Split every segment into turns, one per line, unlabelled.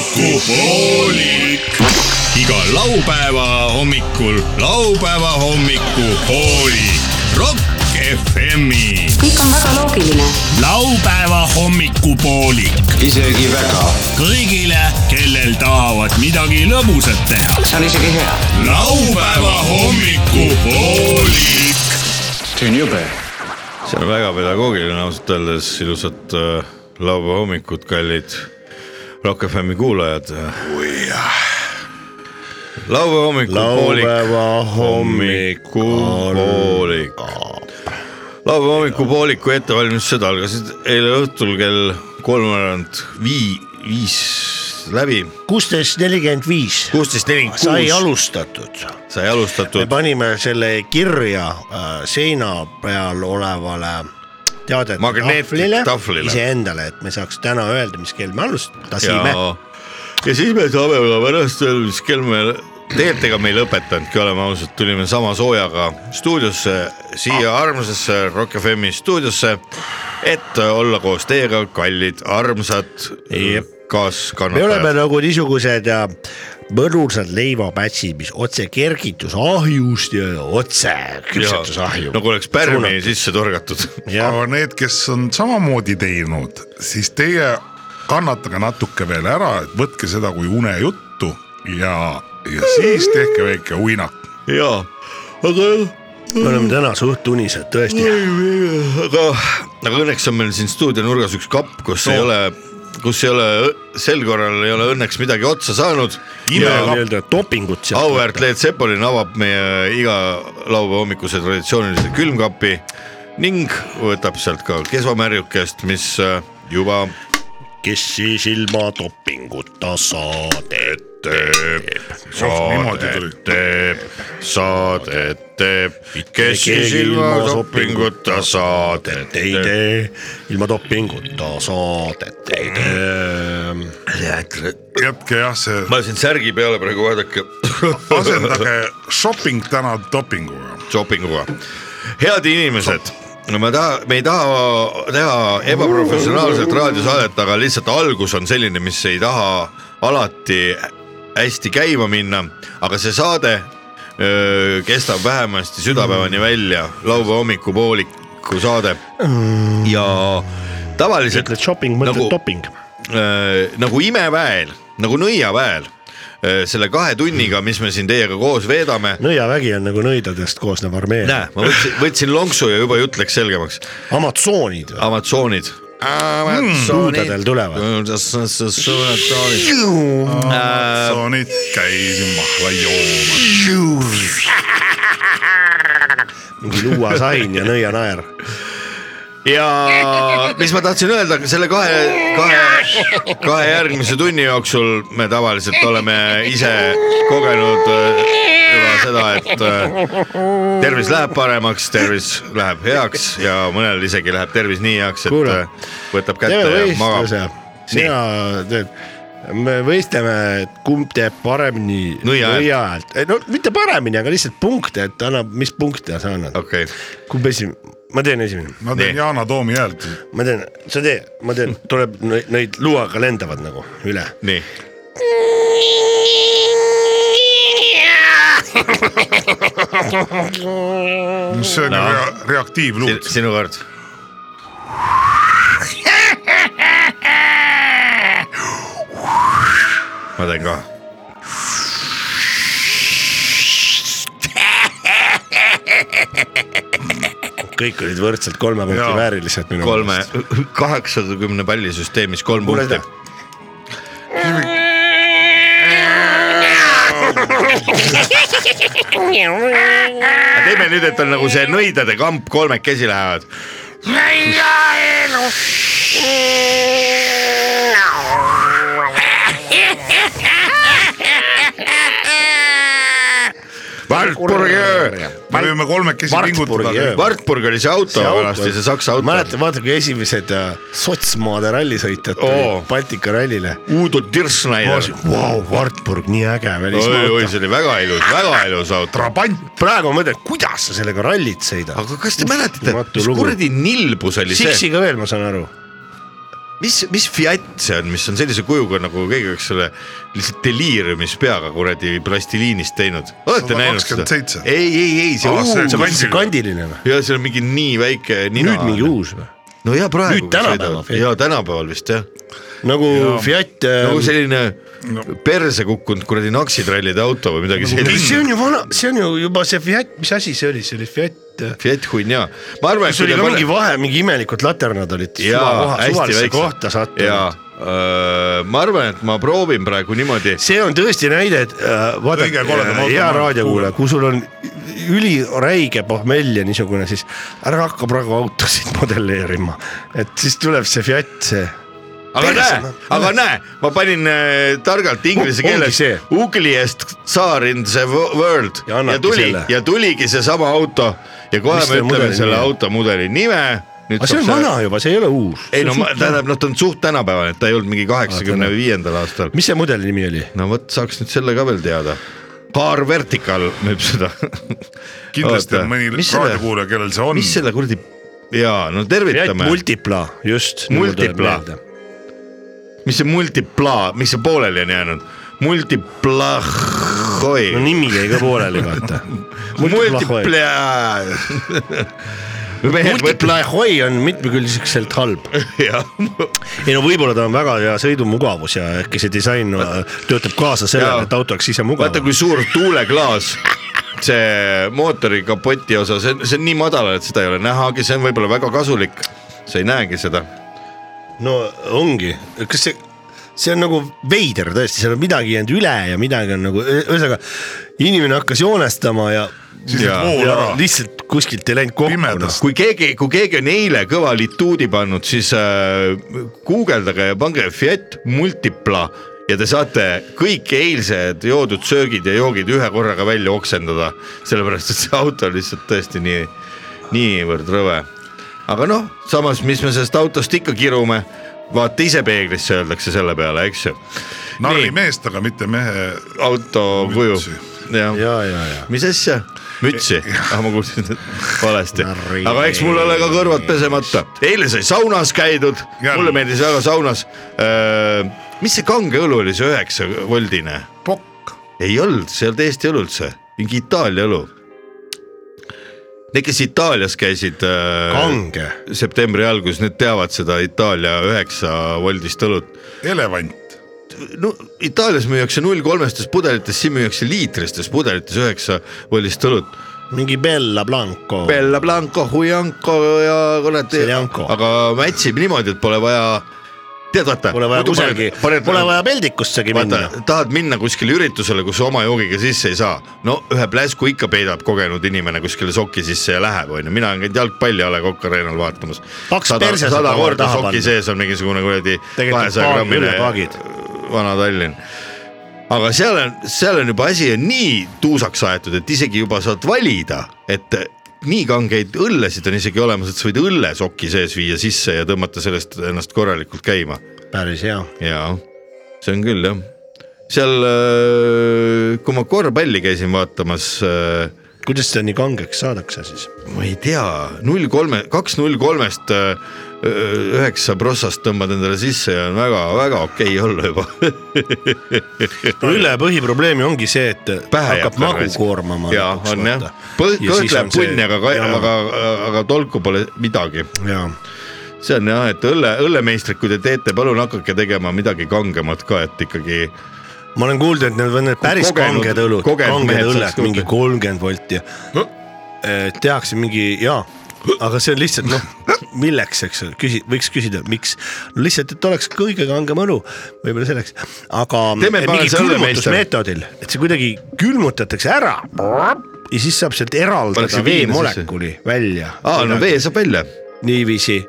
hommikupoolik . iga laupäeva hommikul laupäeva hommikupoolik . Rock FM-i .
kõik on väga loogiline .
laupäeva hommikupoolik
isegi väga .
kõigile , kellel tahavad midagi lõbusat teha .
see on isegi hea .
laupäeva hommikupoolik .
see on jube .
see on väga pedagoogiline ausalt öeldes , ilusat äh, laupäeva hommikut , kallid Rock FM-i kuulajad . laupäeva hommikul .
laupäeva
hommikupoolik . laupäeva hommikupooliku ettevalmistused algasid eile õhtul kell kolmveerand vii- , viis läbi ,
kuusteist nelikümmend viis
kuusteist nelikümmend
sai
kuus
alustatud .
sai
me
alustatud
panime selle kirja äh, seina peal olevale teadet
Magneet- tahvlile.
iseendale , et me saaks täna öelda , mis kell me alustasime .
ja , ja siis me saame ka pärast veel , mis kell me , tegelikult ega me ei lõpetanudki , oleme ausad , tulime sama soojaga stuudiosse , siia armsasse Rock FM-i stuudiosse , et olla koos teiega , kallid armsad
me oleme
kaaskannatajad .
nagu niisugused äh, mõnusad leivapätsid , mis otse kergitus ahjust ja otse küpsetus ahju .
nagu oleks pärmi sisse torgatud .
jah ,
aga need , kes on samamoodi teinud , siis teie kannatage natuke veel ära , et võtke seda kui unejuttu ja , ja siis tehke väike uinak .
ja , aga jah
me oleme täna suht unised tõesti .
aga , aga õnneks on meil siin stuudionurgas üks kapp , kus no. ei ole , kus ei ole , sel korral ei ole õnneks midagi otsa saanud .
nii-öelda dopingut sealt .
auväärt Leet Sepolin avab meie iga laupäeva hommikuse traditsioonilise külmkapi ning võtab sealt ka kesvamärjukest , mis äh, juba
kes siis ilma dopinguta saadet
teeb ,
niimoodi tuli.
saadet teeb , saadet teeb , kes siis ilma dopinguta saadet
ei
teeb .
tee , ilma dopinguta saadet ei
Mm.
tee .
jätke jah , see
ma siin särgi peale praegu vaadake
asendage shopping täna dopinguga .
shoppinguga . head inimesed , ma taha , me ei taha teha ebaprofessionaalset raadiosaadet , aga lihtsalt algus on selline , mis ei taha alati hästi käima minna , aga see saade öö, kestab vähemasti südapäevani välja , laupäeva hommikupooliku saade ja tavaliselt
ütled shopping , mõtled
Nagu-
nagu... doping .
Äh, nagu imeväel , nagu nõiaväel , selle kahe tunniga , mis me siin teiega koos veedame .
nõiavägi on nagu nõidadest koosnev armee .
näe , ma võtsin , võtsin lonksu ja juba jutt läks selgemaks .
Amazonid või ?
Amazonid .
luudadel tulevad .
Amazonid . Äh,
Sonid käisin mahla joomas .
mingi luuasain ja nõianaer .
ja mis ma tahtsin öelda , selle kahe , kahe , kahe järgmise tunni jooksul me tavaliselt oleme ise kogenud äh, juba seda , et äh, tervis läheb paremaks , tervis läheb heaks ja mõnel isegi läheb tervis nii heaks , et
Kuule,
äh, võtab
teeme
kätte ja
võistluse
magab ..
sina teed , me võistleme , et kumb teeb paremini
Nõia häält.
häält . no mitte paremini , aga lihtsalt punkte , et annab , mis punkte sa annad .
okei okay. ,
kumb esimene , ma teen esimene ,
ma
Nii.
teen Yana Toomi häält .
ma teen , sa tee , ma teen , tuleb neid, neid luuaga lendavad nagu üle .
nii .
see on no. reaktiivluud .
sinu kord . ma teen ka .
kõik olid võrdselt kolme punkti
Jaa.
väärilised minu
kolme , kaheksakümne palli süsteemis kolm
Kuule
punkti . teeme nüüd , et on nagu see nõidade kamp , kolmekesi lähevad . Wartburgi ,
me võime kolmekesi
Wartburgi, jah.
pingutada .
Wartburgi oli see auto vanasti , see saksa auto .
mäletad , vaata kui esimesed äh, sotsmaade rallisõitjad
Oo.
tulid Baltika rallile .
Uudo
ma
Dirschneider
ütlesin , vau , Wartburg , nii äge
oi , oi ,
välismaa .
see oli väga ilus , väga ilus auto .
Trabant .
praegu ma mõtlen , kuidas sa sellega rallit sõidad .
aga kas te mäletate ,
Uskumatu
mis
lugu.
kuradi nilbus oli see ?
Siksiga veel , ma saan aru .
mis , mis Fiat see on , mis on sellise kujuga nagu keegi oleks selle lihtsalt deliirimispeaga kuradi plastiliinist teinud , olete näinud seda
127. ?
ei , ei , ei , see
Aa,
uus
see on
see
kandsi-
kandsi-
kandiline või ?
ja seal on mingi nii väike nina .
nüüd mingi . uus või ?
no ja praegu .
Nüüd tänapäeva Fiat.
ja tänapäeval vist jah ,
nagu ja. Fiat
Ehm,
äh,
nagu selline perse kukkunud kuradi naksitrallide auto või midagi sellist .
see on ju
Mm.
vana , see on ju juba see Fiat , mis asi see oli , see oli Fiat .
Fiat Hunja , ma arvan , et
see
kui
oli
te
ka mingi
panete
vahe , mingi imelikud laternad olid
jaa ,
suva-
hästi
suvalisse kohta
väikse . jaa Äh,
sattunud .,
ma arvan , et ma proovin praegu niimoodi ,
see on tõesti näide , et äh, vaata
Kõige koledam , auto
hea
maailmas
raadiokuulaja , kui sul on üliräige pohmell ja niisugune , siis ära hakka praegu autosid modelleerima , et siis tuleb see Fiat , see
aga
Perse,
näe
noh. ,
aga näe , ma panin äh, targalt inglise
ongi
keeles
see.
ugliest tsar in the wo- world
Ja
ja,
annabki
ja tuli
selle. ,
ja tuligi seesama auto ja kohe
Mis
me
selle
ütleme
mudeli
selle
nimi on?
auto mudeli nime .
aga see on vana juba , see ei ole uus .
ei no ma- tähendab , noh , ta on suht tänapäevane , ta ei olnud mingi kaheksakümne viiendal aastal .
mis see mudeli nimi oli ?
no vot , saaks nüüd selle ka veel teada . Car Vertical müüb seda .
kindlasti on mõni
mis selle ,
raadiokuulaja , kellel see on
mis . selle kuradi , jaa , no
Fiat
tervitame .
Multipla , just .
Multipla. mis see multipla , mis see pooleli on jäänud ? multiplahoi
no nimi jäi ka pooleli , vaata .
multipla . mehed mõtlevad ,
Multiplahoi on mitmekülgselt halb .
jah .
ei no võib-olla ta on väga hea sõidumugavus ja äkki see disain äh, töötab kaasa
Jaa.
sellele , et auto oleks ise mugav
vaata , kui suur tuuleklaas see mootori kapoti osa , see , see on nii madalal , et seda ei ole nähagi , see on võib-olla väga kasulik . sa ei näegi seda .
no ongi , kas see , see on nagu veider tõesti , seal on midagi jäänud üle ja midagi on nagu , ühesõnaga inimene hakkas joonestama ja,
siis
Jaa.
läheb vool
ja
ära .
lihtsalt kuskilt ei läinud kokku .
pimedas .
kui keegi , kui keegi on eile kõva lituudi pannud , siis äh, guugeldage ja pange Fiat Multipla ja te saate kõik eilsed joodud söögid ja joogid ühe korraga välja oksendada , sellepärast et see auto on lihtsalt tõesti nii , niivõrd rõve . aga noh , samas , mis me sellest autost ikka kirume , vaata ise peeglisse , öeldakse selle peale , eks ju .
narri meest , aga mitte mehe .
auto kuju
Mütsi. ,
jah
noh. ja , ja , ja
mis asja ? mütsi , ah ma kuulsin valesti
Narri. ,
aga eks mul ole ka kõrvad pesemata , eile sai saunas käidud ,
Jälle.
mulle meeldis väga saunas . mis see kange õlu oli , see üheksa voldine ?
Pokk .
ei olnud , see ei olnud Eesti õlu üldse , mingi Itaalia õlu . Need , kes Itaalias käisid äh,
kange ,
septembri alguses , need teavad seda Itaalia üheksa voldist õlut .
elevant .
no Itaalias müüakse null kolmestes pudelites , siin müüakse liitristes pudelites üheksa voldist õlut
mingi Bella Blanco .
Bella Blanco , Huyanco ja kuradi
Seljanco. ,
aga mätsib niimoodi , et pole vaja , tead vaata .
Pole vaja kusagil , pole vaja peldikussegi
vaata
minna .,
tahad minna kuskile üritusele , kus oma joogiga sisse ei saa , no ühe pläsku ikka peidab kogenud inimene kuskile soki sisse ja läheb , onju , mina olen käinud jalgpalli A Le Coq Arena'l vaatamas .
Paks
sada
perse saab
sada
oma
korda
taha
soki
panna.
sees on mingisugune kuradi
Tegelikult
kahesaja
paag-
grammine
ülepaagid.
Vana-Tallinn aga seal on , seal on juba asi on nii tuusaks aetud , et isegi juba saad valida , et nii kangeid õllesid on isegi olemas , et sa võid õlle soki sees viia sisse ja tõmmata sellest ennast korralikult käima .
päris hea .
jaa , see on küll jah . seal , kui ma korvpalli käisin vaatamas ,
kuidas seda nii kangeks saadakse siis ?
ma ei tea , null kolme , kaks null kolmest öö, üheksa prossast tõmbad endale sisse ja on väga-väga okei olla juba
no üle põhiprobleemi ongi see , et
Pähe jääb
hakkab
talle
magu
raisk.
koormama .
jaa , on jah , kõht läheb punni , aga , aga , aga tolku pole midagi .
jaa ,
see on jah , et õlle , õllemeistrid , kui te teete , palun hakake tegema midagi kangemat ka , et ikkagi
ma olen kuulnud , et need on need päris
Kogenud-
kanged õlud ,
kogenud
kanged
mehed saaks
õlled , mingi
kuulda.
kolmkümmend volti ja eh, tehakse mingi jaa , aga see on lihtsalt noh , milleks , eks ole , küsi- , võiks küsida , miks . no lihtsalt , et oleks kõige kangem õlu , võib-olla selleks , aga
Teeme
eh,
parem
mingi
see õllemeister.
külmutusmeetodil , et see kuidagi külmutatakse ära ja siis saab sealt
Pannakse
eraldada
viina
veemolekuli välja .
aa , no vee saab välja .
niiviisi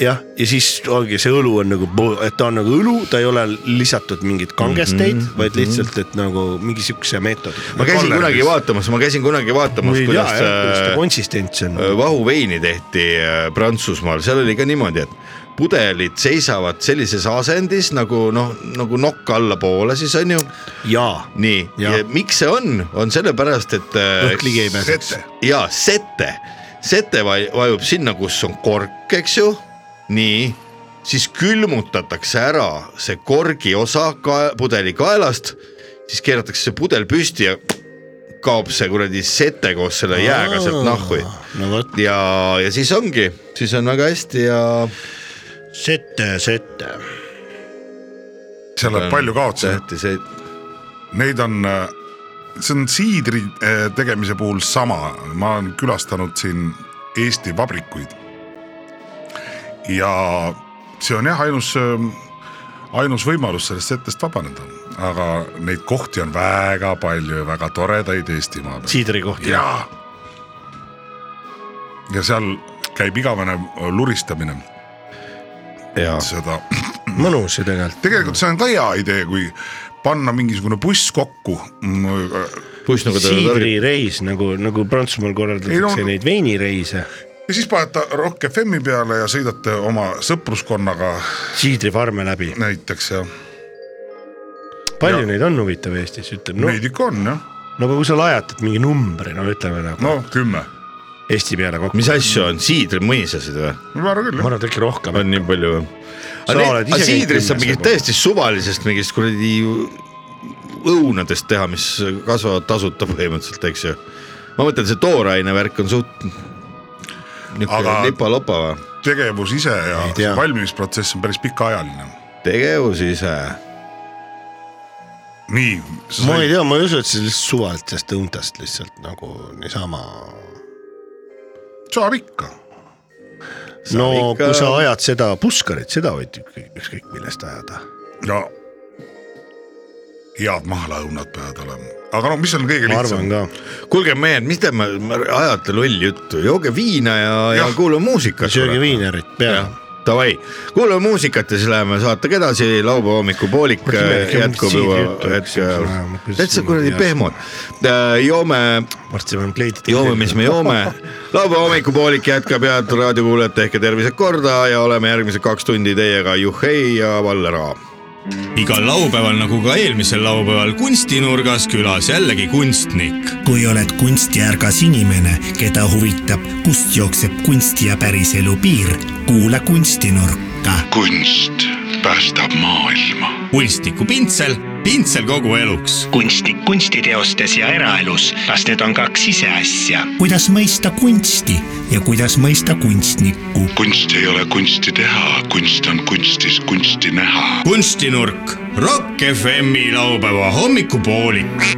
jah , ja siis ongi see õlu on nagu , et ta on nagu õlu , ta ei ole lisatud mingeid kangesteid mm , -hmm. vaid lihtsalt , et nagu mingi siukse meetodi .
Mhm, ma käisin
Kolleris.
kunagi vaatamas , ma käisin kunagi vaatamas , kuidas äh,
konsistents on .
vahuveini tehti äh, Prantsusmaal , seal oli ka niimoodi , et pudelid seisavad sellises asendis nagu noh , nagu nokk allapoole siis on ju ,
jaa ,
nii ,
Jah.
miks see on , on sellepärast , et äh,
õhk ligi ei pääse .
sete .
ja sete , sete vai- vajub sinna , kus on kork , eks ju , nii , siis külmutatakse ära see korgi osa ka pudeli kaelast , siis keeratakse see pudel püsti ja kaob see kuradi sete koos selle jääga sealt nahku
no vot ,
ja , ja siis ongi , siis on väga hästi ja
sette , sette .
seal läheb palju kaotsi ,
tähtis , et
neid on , see on siidri eh, tegemise puhul sama , ma olen külastanud siin Eesti vabrikuid . ja see on jah , ainus , ainus võimalus sellest setest vabaneda , aga neid kohti on väga palju ja väga toredaid Eestimaa peal .
siidri kohta .
jaa . ja seal käib igavene äh, luristamine
ja
seda ,
mõnus ju tegelikult .
tegelikult see on ka hea idee , kui panna mingisugune buss kokku . Mm, äh,
puss nagu ta
siidri reis nagu , nagu Prantsusmaal korraldatakse
Ei, no-
neid veinireise .
ja siis paned ta Rock FM-i peale ja sõidate oma sõpruskonnaga
siidrifarme läbi ,
näiteks ja
palju neid on huvitav Eestis , ütleme no, ,
neid ikka on jah ,
no aga kui sa lajatad mingi numbri , no ütleme nagu no.
no kümme ,
Eesti peale kokku ,
mis asju on , siidrimõisasid või ?
ma arvan küll
ma
jah ,
arvan , et äkki rohkem .
on nii palju või ?
Sa oled
aga
ise käinud
siidrist saab
kümnes
mingit
võib-olla.
täiesti suvalisest mingist kuradi õunadest teha , mis kasvavad tasuta põhimõtteliselt , eks ju . ma mõtlen , see tooraine värk on suht niisugune
Aga-
lipa-lopa või ?
tegevus ise ja
Ei tea.
valmimisprotsess on päris pikaajaline .
tegevus ise ,
nii ,
ma ei tea , ma ei usu , et see lihtsalt suvalistest õuntest lihtsalt nagu niisama .
saab ikka ,
no
ikka-
kui sa ajad seda puskarit , seda võid ükskõik ükskõik millest ajada .
no head mahlaõunad peavad olema , aga no mis on kõige
ma
lihtsam
arvan , ka ,
kuulge mehed , mis te ma- ma- ajate lolli juttu , jooge viina ja , ja
Jah.
kuulame muusikat .
sööge viinerit peale .
Davai , kuulame muusikat ja siis läheme saatega edasi , laupäeva hommikupoolik äh,
Kurat, imelik,
jätkub
siidri
juba
juttu hakkas
hetke
siin ajama, kuidas
täitsa
niimoodi
kuradi
jääb?
pehmod . joome
varsti peame kleidid .
joome , mis me . joome . laupäeva hommikupoolik jätkab , head raadiokuulajad , tehke tervised korda ja oleme järgmised kaks tundi teiega Juhhei ja Valler A .
igal laupäeval nagu ka eelmisel laupäeval Kunstinurgas külas jällegi kunstnik .
kui oled kunstiärgas inimene , keda huvitab , kust jookseb kunsti ja päriselu piir , kuula Kunstinurka .
kunst päästab maailma .
kunstniku pintsel , pintsel kogu eluks .
kunstnik kunstiteostes ja eraelus , kas need on kaks iseasja ?
kuidas mõista kunsti ja kuidas mõista kunstnikku .
kunst ei ole kunsti teha , kunst on kunstis kunsti näha .
kunstinurk , Rock FM-i laupäeva hommikupoolik .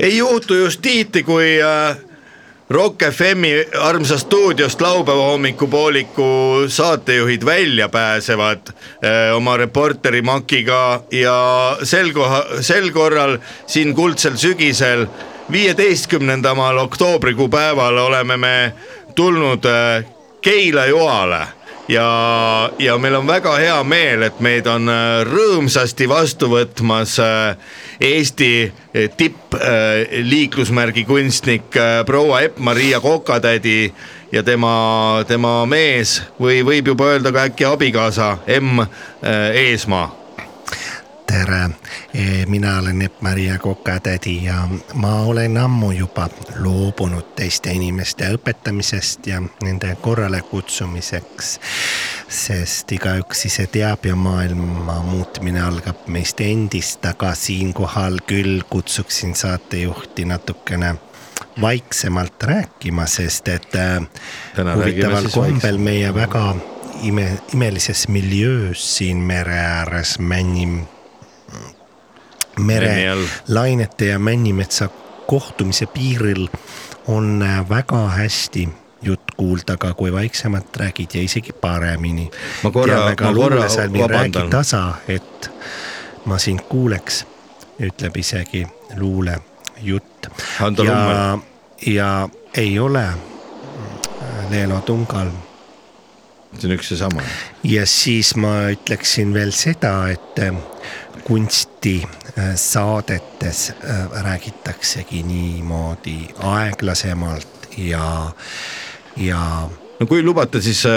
ei juhtu just tihti , kui äh, Rock FM-i armsast stuudiost laupäeva hommikupooliku saatejuhid välja pääsevad äh, oma reporteri Makiga ja sel koha , sel korral siin kuldsel sügisel , viieteistkümnendamal oktoobrikuu päeval oleme me tulnud äh, Keila joale ja , ja meil on väga hea meel , et meid on äh, rõõmsasti vastu võtmas äh, Eesti eh, tippliiklusmärgi kunstnik äh, proua Epp-Maria Kokatädi ja tema , tema mees või võib juba öelda ka äkki abikaasa M äh, Eesmaa .
tere , mina olen Epp-Maria Kokatädi ja ma olen ammu juba loobunud teiste inimeste õpetamisest ja nende korrale kutsumiseks . sest igaüks ise teab ja maailma muutmine algab meist endist , aga siinkohal küll kutsuksin saatejuhti natukene vaiksemalt rääkima , sest et äh,
Täna räägime
huvitaval
siis
kombel meie väga ime , imelises miljöös siin mere ääres Männim
Männi
mere
all.
lainete ja Männimetsa kohtumise piiril on äh, väga hästi jutt kuulda ka , kui vaiksemalt räägid ja isegi paremini .
Ma korra- ma korra
räägi
vabandan.
tasa , et ma sind kuuleks , ütleb isegi luulejutt .
Hando
ja
Lummel. ,
ja ei ole äh, Leelo Tungal
see on üks seesama .
ja siis ma ütleksin veel seda , et äh, kunstisaadetes äh, räägitaksegi niimoodi aeglasemalt ja , ja
no kui lubate , siis äh,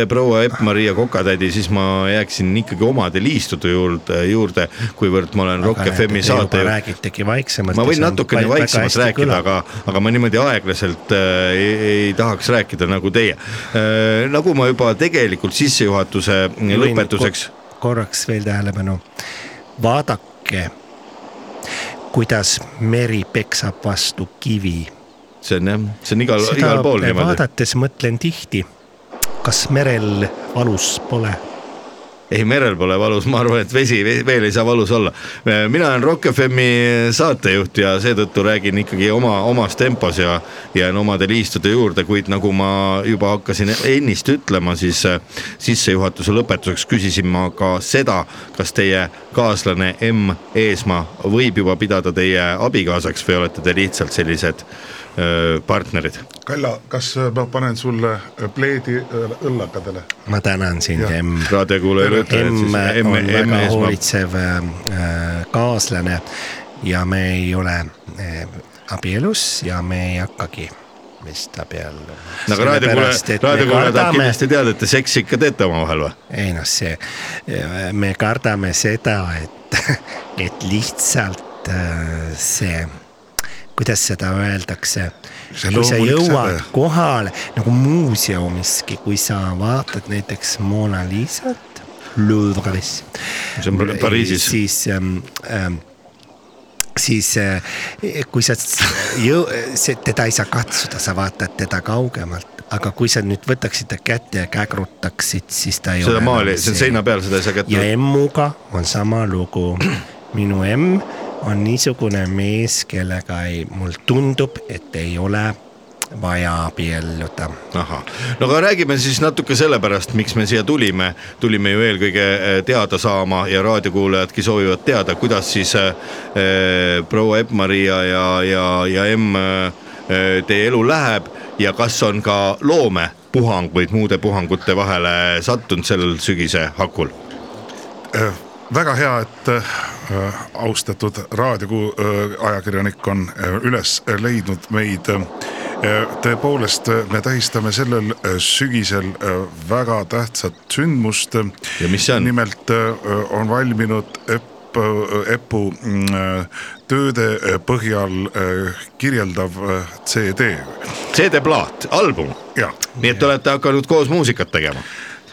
eh, proua Epp-Maria Kokatädi , siis ma jääksin ikkagi omade liistude juurde , juurde , kuivõrd ma olen Rock FM-i saate ju
räägitegi vaiksemalt .
ma võin natukene vaiksemalt rääkida , aga , aga ma niimoodi aeglaselt äh, ei, ei tahaks rääkida nagu teie äh, . nagu ma juba tegelikult sissejuhatuse lõpetuseks ,
korraks veel tähelepanu . vaadake , kuidas meri peksab vastu kivi .
see on jah , see on igal ,
seda
igal pool niimoodi .
vaadates mõtlen tihti , kas merel valus pole
ei , merel pole valus , ma arvan , et vesi ve- veel ei saa valus olla . mina olen Rock FM-i saatejuht ja seetõttu räägin ikkagi oma , omas tempos ja jään omade liistude juurde , kuid nagu ma juba hakkasin ennist ütlema , siis äh, sissejuhatuse lõpetuseks küsisin ma ka seda , kas teie kaaslane M Eesmaa võib juba pidada teie abikaasaks või olete te lihtsalt sellised öö, partnerid ?
Kalla , kas äh, ma panen sulle äh, pleedi õl- õllakadele ?
ma tänan sind , Emm .
raadiokuulaja ütleb , et
Emm
siis M ,
Mm. on
M
väga
Eesmaa
hoolitsev äh, kaaslane ja me ei ole äh, abielus ja me ei hakkagi vist abiellu .
no aga raadiokuulaja , raadiokuulaja tahab kindlasti teada , et te seksi ikka teete omavahel või ?
ei noh , see , me kardame seda , et , et lihtsalt äh, see , kuidas seda öeldakse .
See
kui sa
loomulik
jõuad
säde.
kohale nagu muuseumiski , kui sa vaatad näiteks Mona Lisat Louvre'is .
See on Pari- Pariisis.
siis ähm, , ähm, siis äh, kui sa s- jõu- , see , teda ei saa katsuda , sa vaatad teda kaugemalt , aga kui sa nüüd võtaksid ta kätte ja kägrutaksid , siis ta ei
seda
ole
maali ,
enam
see on seina peal , seda ei saa
ja
kätte .
emmuga on sama lugu . minu emm on niisugune mees , kellega ei , mul tundub , et ei ole vaja abielluda .
ahah , no aga räägime siis natuke sellepärast , miks me siia tulime . tulime ju eelkõige eh, teada saama ja raadiokuulajadki soovivad teada , kuidas siis eh, eh, proua Epp-Maria ja , ja , ja emm eh, teie elu läheb ja kas on ka loomepuhang või muude puhangute vahele sattunud sellel sügise hakul ?
Äh, väga hea , et äh, austatud raadioajakirjanik on äh, üles leidnud meid . tõepoolest , me tähistame sellel äh, sügisel äh, väga tähtsat sündmust . ja
mis see on?
nimelt äh, on valminud Epp , Epu mm, äh, tööde äh, põhjal äh, kirjeldav äh, CD
CD-plaat , album ,
ja
nii et te olete hakanud koos muusikat tegema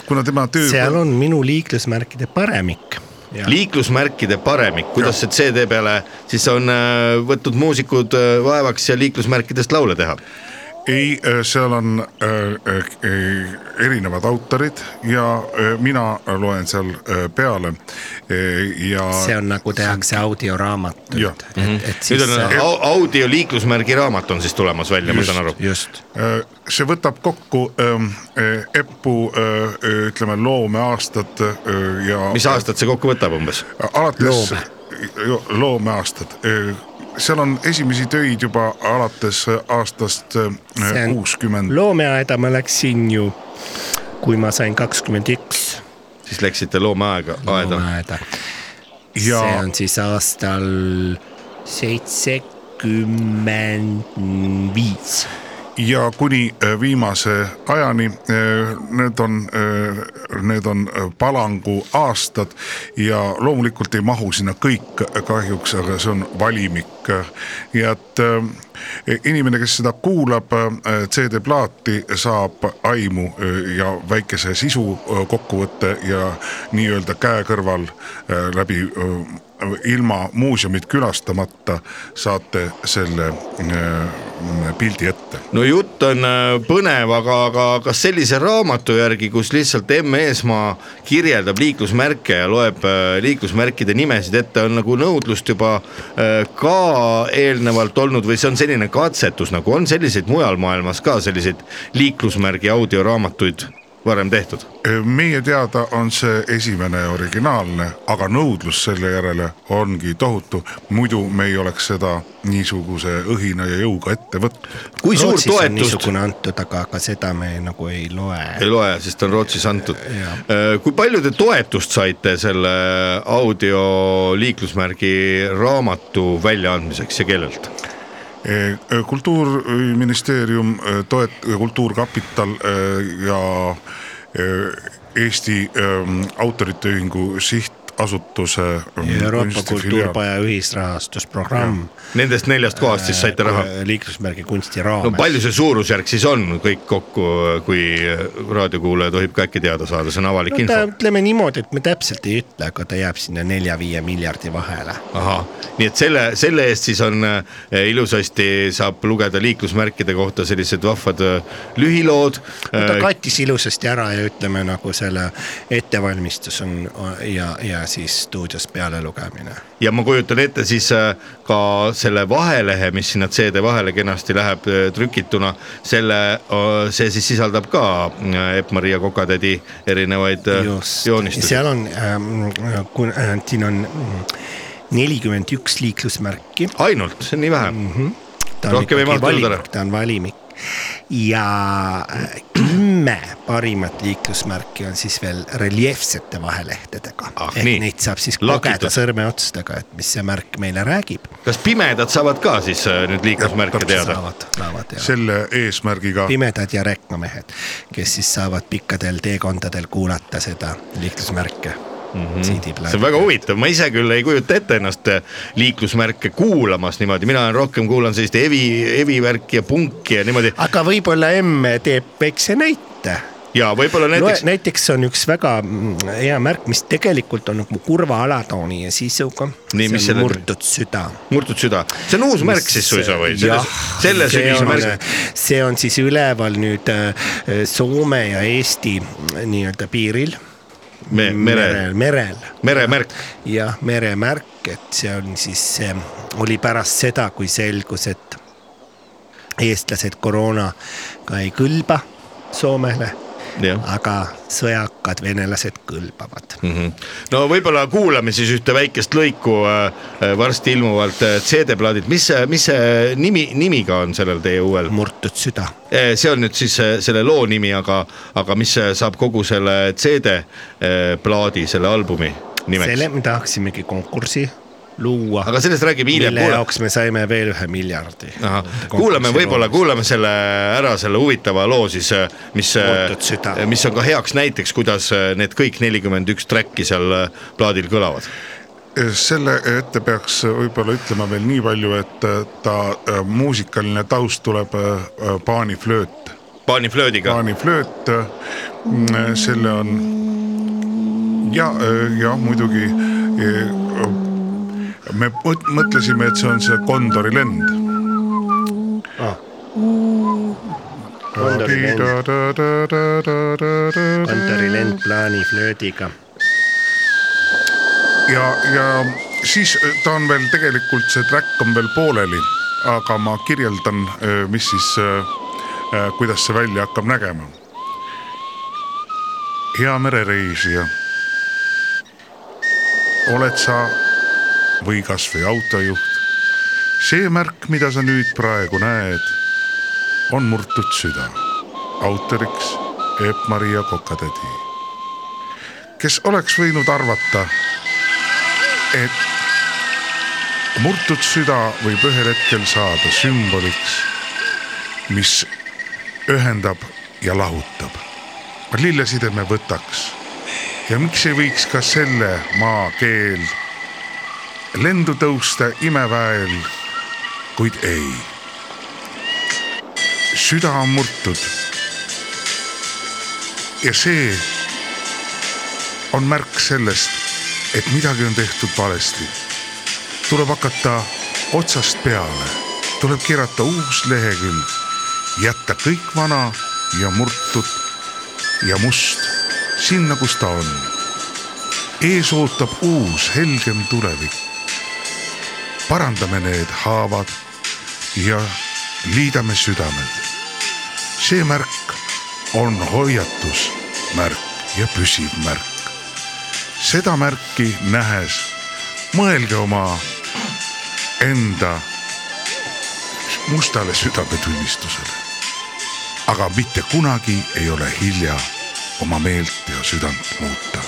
kuna tema töö .
seal on minu liiklusmärkide paremik .
liiklusmärkide paremik , kuidas see CD peale siis on äh, võtnud muusikud äh, vaevaks ja liiklusmärkidest laule teha ?
ei , seal on äh, äh, äh, erinevad autorid ja äh, mina loen seal äh, peale äh, ja .
see on nagu tehakse audioraamatut ,
jah.
et , et
nüüd
siis
on
sa-
au- audio liiklusmärgi raamat on siis tulemas välja , ma saan aru .
just ,
Äh, see võtab kokku ähm, äh, Epu äh, ütleme loomeaastad äh, ja .
mis aastat see kokku võtab umbes ?
alates Loome. loomeaastad , seal on esimesi töid juba alates äh, aastast
See on
kuuskümmend .
loomeaeda ma läksin ju , kui ma sain kakskümmend üks
siis läksite loomeaega , aeda .
loomeaeda .
Ja-
see on siis aastal seitsekümmend viis .
ja kuni äh, viimase ajani , need on , need on äh, palangu aastad ja loomulikult ei mahu sinna kõik äh, kahjuks , aga see on valimik . ja et äh, inimene , kes seda kuulab , äh, CD-plaati saab aimu äh, ja väikese sisu äh, kokkuvõtte ja nii-öelda käekõrval äh, läbi äh, ilma muuseumit külastamata saate selle äh, pildi ette .
no jutt on äh, põnev , aga , aga kas sellise raamatu järgi , kus lihtsalt M Eesmaa kirjeldab liiklusmärke ja loeb äh, liiklusmärkide nimesid ette , on nagu nõudlust juba äh, ka eelnevalt olnud või see on selline katsetus nagu on selliseid mujal maailmas ka selliseid liiklusmärgi audioraamatuid varem tehtud ?
meie teada on see esimene originaalne , aga nõudlus selle järele ongi tohutu , muidu me ei oleks seda niisuguse õhina ja jõuga ette võtnud .
kui suur
Rootsis on
toetus
niisugune antud , aga , aga seda me nagu ei loe .
ei loe , sest ta on Rootsis antud . kui palju te toetust saite selle audio liiklusmärgi raamatu väljaandmiseks ja kellelt ?
e, kultuurministeerium eh, toet- , Kultuurkapital eh, ja eh, Eesti eh, Autorite Ühingu Sihtasutuse .
Euroopa Kultuurpaja ühisrahastusprogramm
Nendest neljast kohast siis saite raha ?
Äh, liiklusmärgi kunsti
no
raames .
palju see suurusjärk siis on kõik kokku , kui raadiokuulaja tohib ka äkki teada saada , see on avalik
no
info
ta , ütleme niimoodi , et me täpselt ei ütle , aga ta jääb sinna nelja-viie miljardi vahele .
ahah , nii et selle , selle eest siis on äh, ilusasti saab lugeda liiklusmärkide kohta sellised vahvad äh, lühilood . Äh,
ta kattis ilusasti ära ja ütleme nagu selle ettevalmistus on ja , ja siis stuudios peale lugemine .
Eh, ja ma kujutan ette siis äh, ka selle vahelehe , mis sinna CD vahele kenasti läheb äh, trükituna , selle , see siis sisaldab ka äh, Epp-Maria Kokatädi erinevaid äh, joonistusi .
seal on ähm, , kun- äh, siin on nelikümmend üks liiklusmärki
ainult , see on nii vähe mm . -hmm.
ta on
Rohkem ei
ikkagi
mahtunud
valimik,
ära.
ta on valimik ja äh, kümme parimat liiklusmärki on siis veel reljeefsete vahelehtedega
Ah,
ehk
nii.
neid saab siis
Lakitud.
lugeda sõrmeotstega , et mis see märk meile räägib .
kas pimedad saavad ka siis äh, nüüd liiklusmärke teada ?
saavad , saavad ja
selle eesmärgiga
pimedad ja reknamehed , kes siis saavad pikkadel teekondadel kuulata seda liiklusmärke mm . -hmm.
Mhm. see on väga huvitav , ma ise küll ei kujuta ette ennast äh, liiklusmärke kuulamas niimoodi , mina olen rohkem kuulan sellist evi , evivärki ja punki ja niimoodi
aga võib-olla emme teeb väikse näite
ja võib-olla näiteks
näiteks... Loe, näiteks on üks väga mm, hea märk , mis tegelikult on nagu kurva alatooni ja sisuga .
Nii, mis selle
on
nimi?
murtud süda .
murtud süda , see on uus märk siis suisa või ? selles , selles
see
uus
on
märk ,,
see on siis üleval nüüd äh, Soome ja Eesti mm, nii-öelda piiril .
Me- mere-
merel, merel. ,
meremärk ,
jah , meremärk , et see on siis , oli pärast seda , kui selgus , et eestlased koroonaga ei kõlba Soomele ,
jah .
aga sõjakad venelased kõlbavad .
no võib-olla kuulame siis ühte väikest lõiku äh, äh, varsti ilmuvalt äh, CD-plaadilt , mis , mis see nimi , nimiga on sellel teie uuel ?
murtud süda .
Eh, see on nüüd siis eh, selle loo nimi , aga , aga mis eh, saab kogu selle CD eh, plaadi , selle albumi
selle
nimeks ?
me tahaksimegi konkursi luua ,
aga sellest räägime hiljem ,
mille
kuulame ,
jaoks me saime veel ühe miljardi .
kuulame võib-olla ,. kuulame selle ära , selle huvitava loo siis , mis äh,
Murtud süda. ,
mis on ka heaks näiteks , kuidas eh, need kõik nelikümmend üks track'i seal eh, plaadil kõlavad .
selle ette peaks võib-olla ütlema veel nii palju , et ta äh, muusikaline taust tuleb äh, äh, paaniflööt ,
paaniflöödiga ,
paaniflööt , äh, mm, selle on ja , ja muidugi äh, me mõt- mõtlesime , et see on see Kondori lend .
Kondori lend , Kondori lend plaani flöödiga .
ja , ja siis äh, ta on veel tegelikult see track on veel pooleli , aga ma kirjeldan , mis siis , kuidas see välja hakkab nägema . hea merereisija . oled sa või kasvõi autojuht . see märk , mida sa nüüd praegu näed , on murtud süda . autoriks Epp-Maria Kokatädi , kes oleks võinud arvata et murtud süda võib ühel hetkel saada sümboliks , mis ühendab ja lahutab . lilleside me võtaks ja miks ei võiks ka selle maakeel lendu tõusta imeväel , kuid ei . süda on murtud . ja see on märk sellest , et midagi on tehtud valesti . tuleb hakata otsast peale , tuleb keerata uus lehekülg , jätta kõik vana ja murtud ja must sinna , kus ta on . ees ootab uus helgem tulevik . parandame need haavad ja liidame südamed . see märk on hoiatusmärk ja püsiv märk . seda märki nähes mõelge oma enda mustale südametunnistusele . aga mitte kunagi ei ole hilja oma meelt ja südant muuta .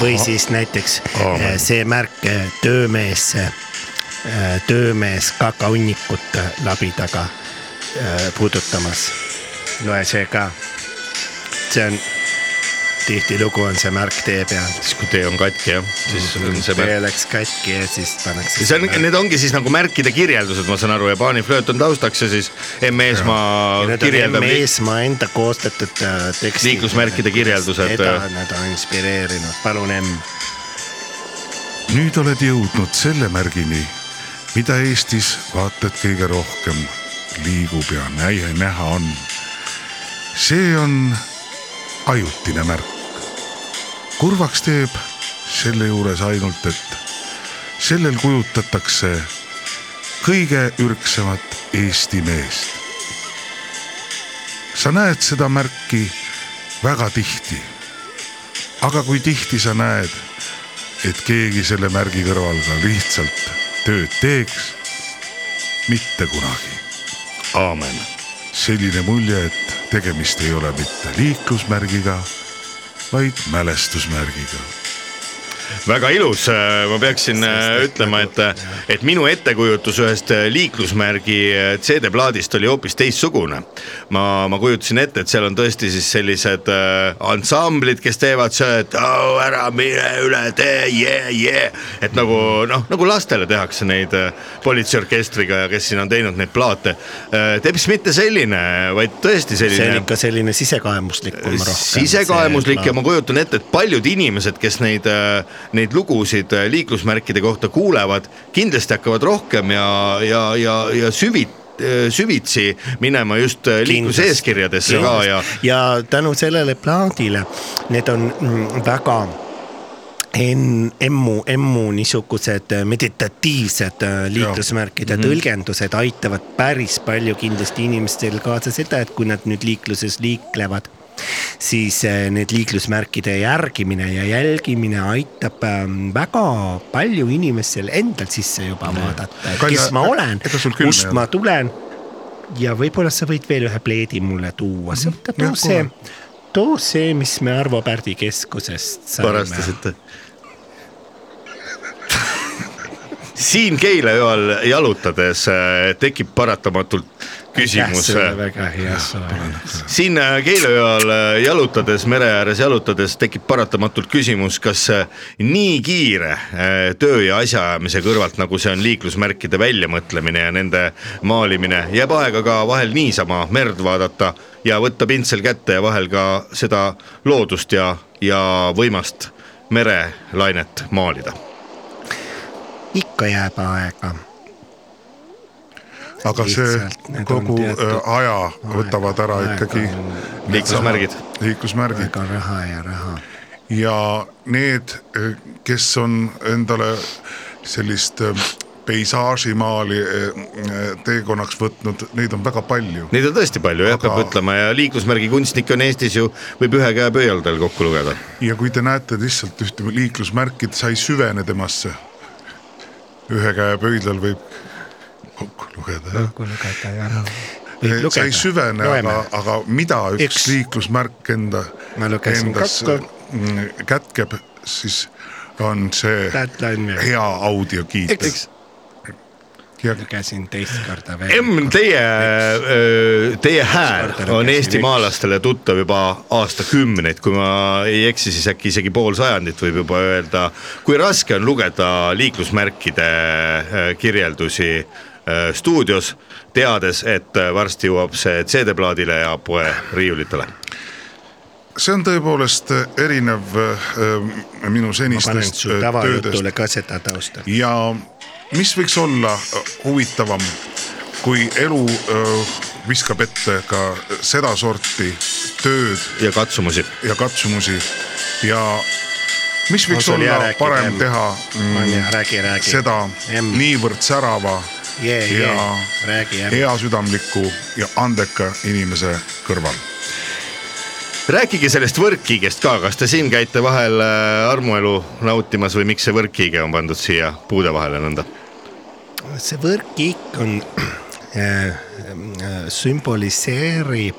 või siis näiteks
Aamen.
eh, see märk eh, töömees , äh, töömees kakahunnikut labidaga äh, puudutamas . loe see ka . see on , tihtilugu on see märk tee peal .
siis kui tee on katki jah , siis on see märk .
tee läks katki ja siis pannakse .
see on , need ongi siis nagu märkide kirjeldused , ma saan aru , Jaani flööt on taustaks ja siis M. E Eesmaa kirjeldab li-
meesmaa enda koostatud äh, tekstid .
Liiklusmärkide kirjeldused. eh.
teda nad on inspireerinud , palun M .
nüüd oled jõudnud selle märgini , mida Eestis vaatad kõige rohkem liigub ja näie näha on . see on ajutine märk . kurvaks teeb selle juures ainult , et sellel kujutatakse kõige ürgsemat Eesti meest . sa näed seda märki väga tihti . aga kui tihti sa näed et keegi selle märgi kõrval ka lihtsalt tööd teeks . mitte kunagi . aamen . selline mulje , et tegemist ei ole mitte liiklusmärgiga , vaid mälestusmärgiga .
väga ilus , ma peaksin äh, ütlema , et , et minu ettekujutus ühest äh, liiklusmärgi äh, CD-plaadist oli hoopis teistsugune . ma , ma kujutasin ette , et seal on tõesti siis sellised äh, ansamblid , kes teevad see , et au ära mine üle tee yeah, , yeah. et nagu noh , nagu lastele tehakse neid äh, politseiorkestriga ja kes siin on teinud neid plaate . teps mitte selline , vaid tõesti
see on
selline
ikka selline sisekaemuslikum rohkem .
sisekaemuslik ja ma kujutan ette , et paljud inimesed , kes neid , neid lugusid äh, liiklusmärkide kohta kuulevad , kindlasti hakkavad rohkem ja , ja , ja , ja süvit- , süvitsi minema just äh, liikluseeskirjadesse ka ja
ja tänu sellele plaadile , need on mm, väga en- , emmu , emmu niisugused äh, meditatiivsed äh, liiklusmärkide
Mhm.
mm -hmm. tõlgendused aitavad päris palju kindlasti inimestel kaasa seda , et kui nad nüüd liikluses liiklevad , siis äh, need liiklusmärkide järgimine ja jälgimine aitab ähm, väga palju inimestel endal sisse juba vaadata , et
Kalja,
kes ma olen
ega sul , külma ei
kust
ole?
ma tulen ja võib-olla sa võid veel ühe pleedi mulle tuua , sõltub
Mhm. Jah,
too see , too see , mis me Arvo Pärdi keskusest saime .
varastasite . siin Keila joel jalutades äh, tekib paratamatult küsimus äh,
väga hea soe .
siin äh, Keila joel äh, jalutades , mere ääres jalutades tekib paratamatult küsimus , kas äh, nii kiire äh, töö ja asjaajamise kõrvalt , nagu see on liiklusmärkide väljamõtlemine ja nende maalimine , jääb aega ka vahel niisama merd vaadata ja võtta pintsel kätte ja vahel ka seda loodust ja , ja võimast merelainet maalida .
ikka jääb aega .
aga see
Lihtsalt need on
kogu
teatud
äh, aja võtavad ära
aega
ikkagi
on-
liiklusmärgid. .
liiklusmärgid
aega on raha ja raha .
ja need , kes on endale sellist äh, peisaažimaali äh, teekonnaks võtnud , neid on väga palju .
Neid on tõesti palju jah , peab
Aga-
ütlema ja liiklusmärgi kunstnikke on Eestis ju , võib ühe käe pöialdel kokku lugeda
ja kui te näete lihtsalt ühte liiklusmärki , et sa ei süvene temasse . ühe käe pöidlal võib kokku lugeda jah .
kui lugeda jah .
sa ei süvene , aga , aga mida üks, üks.
Üks.
liiklusmärk enda ,
Ma lugesin
endas
kokku.
mm, kätkeb , siis on see
Deadline veel.
hea audiokiit . ja
lugesin teist korda veel .
M , teie , teie hääl
Korda
on
lugesin,
eestimaalastele tuttav juba aastakümneid , kui ma ei eksi , siis äkki isegi pool sajandit võib juba öelda . kui raske on lugeda liiklusmärkide äh, kirjeldusi äh, stuudios , teades , et äh, varsti jõuab see CD-plaadile ja poe riiulitele .
see on tõepoolest erinev äh, minu
ma panen
senistest
su
äh, töödest
tavajutule ka seda tausta .
ja mis võiks olla äh, huvitavam , kui elu äh, viskab ette ka sedasorti tööd
ja katsumusi .
ja katsumusi ja mis võiks
On sul hea
olla
rääkida,
parem
Em?
teha mm,
on jah , räägi , räägi .
seda
Em.
niivõrd särava
jee , jee
ja ,
räägi jah .
heasüdamliku ja andeka inimese kõrval .
rääkige sellest võrkkiigest ka , kas te siin käite vahel äh, armuelu nautimas või miks see võrkkiige on pandud siia puude vahele nõnda ?
see võrkkiik on äh, , sümboliseerib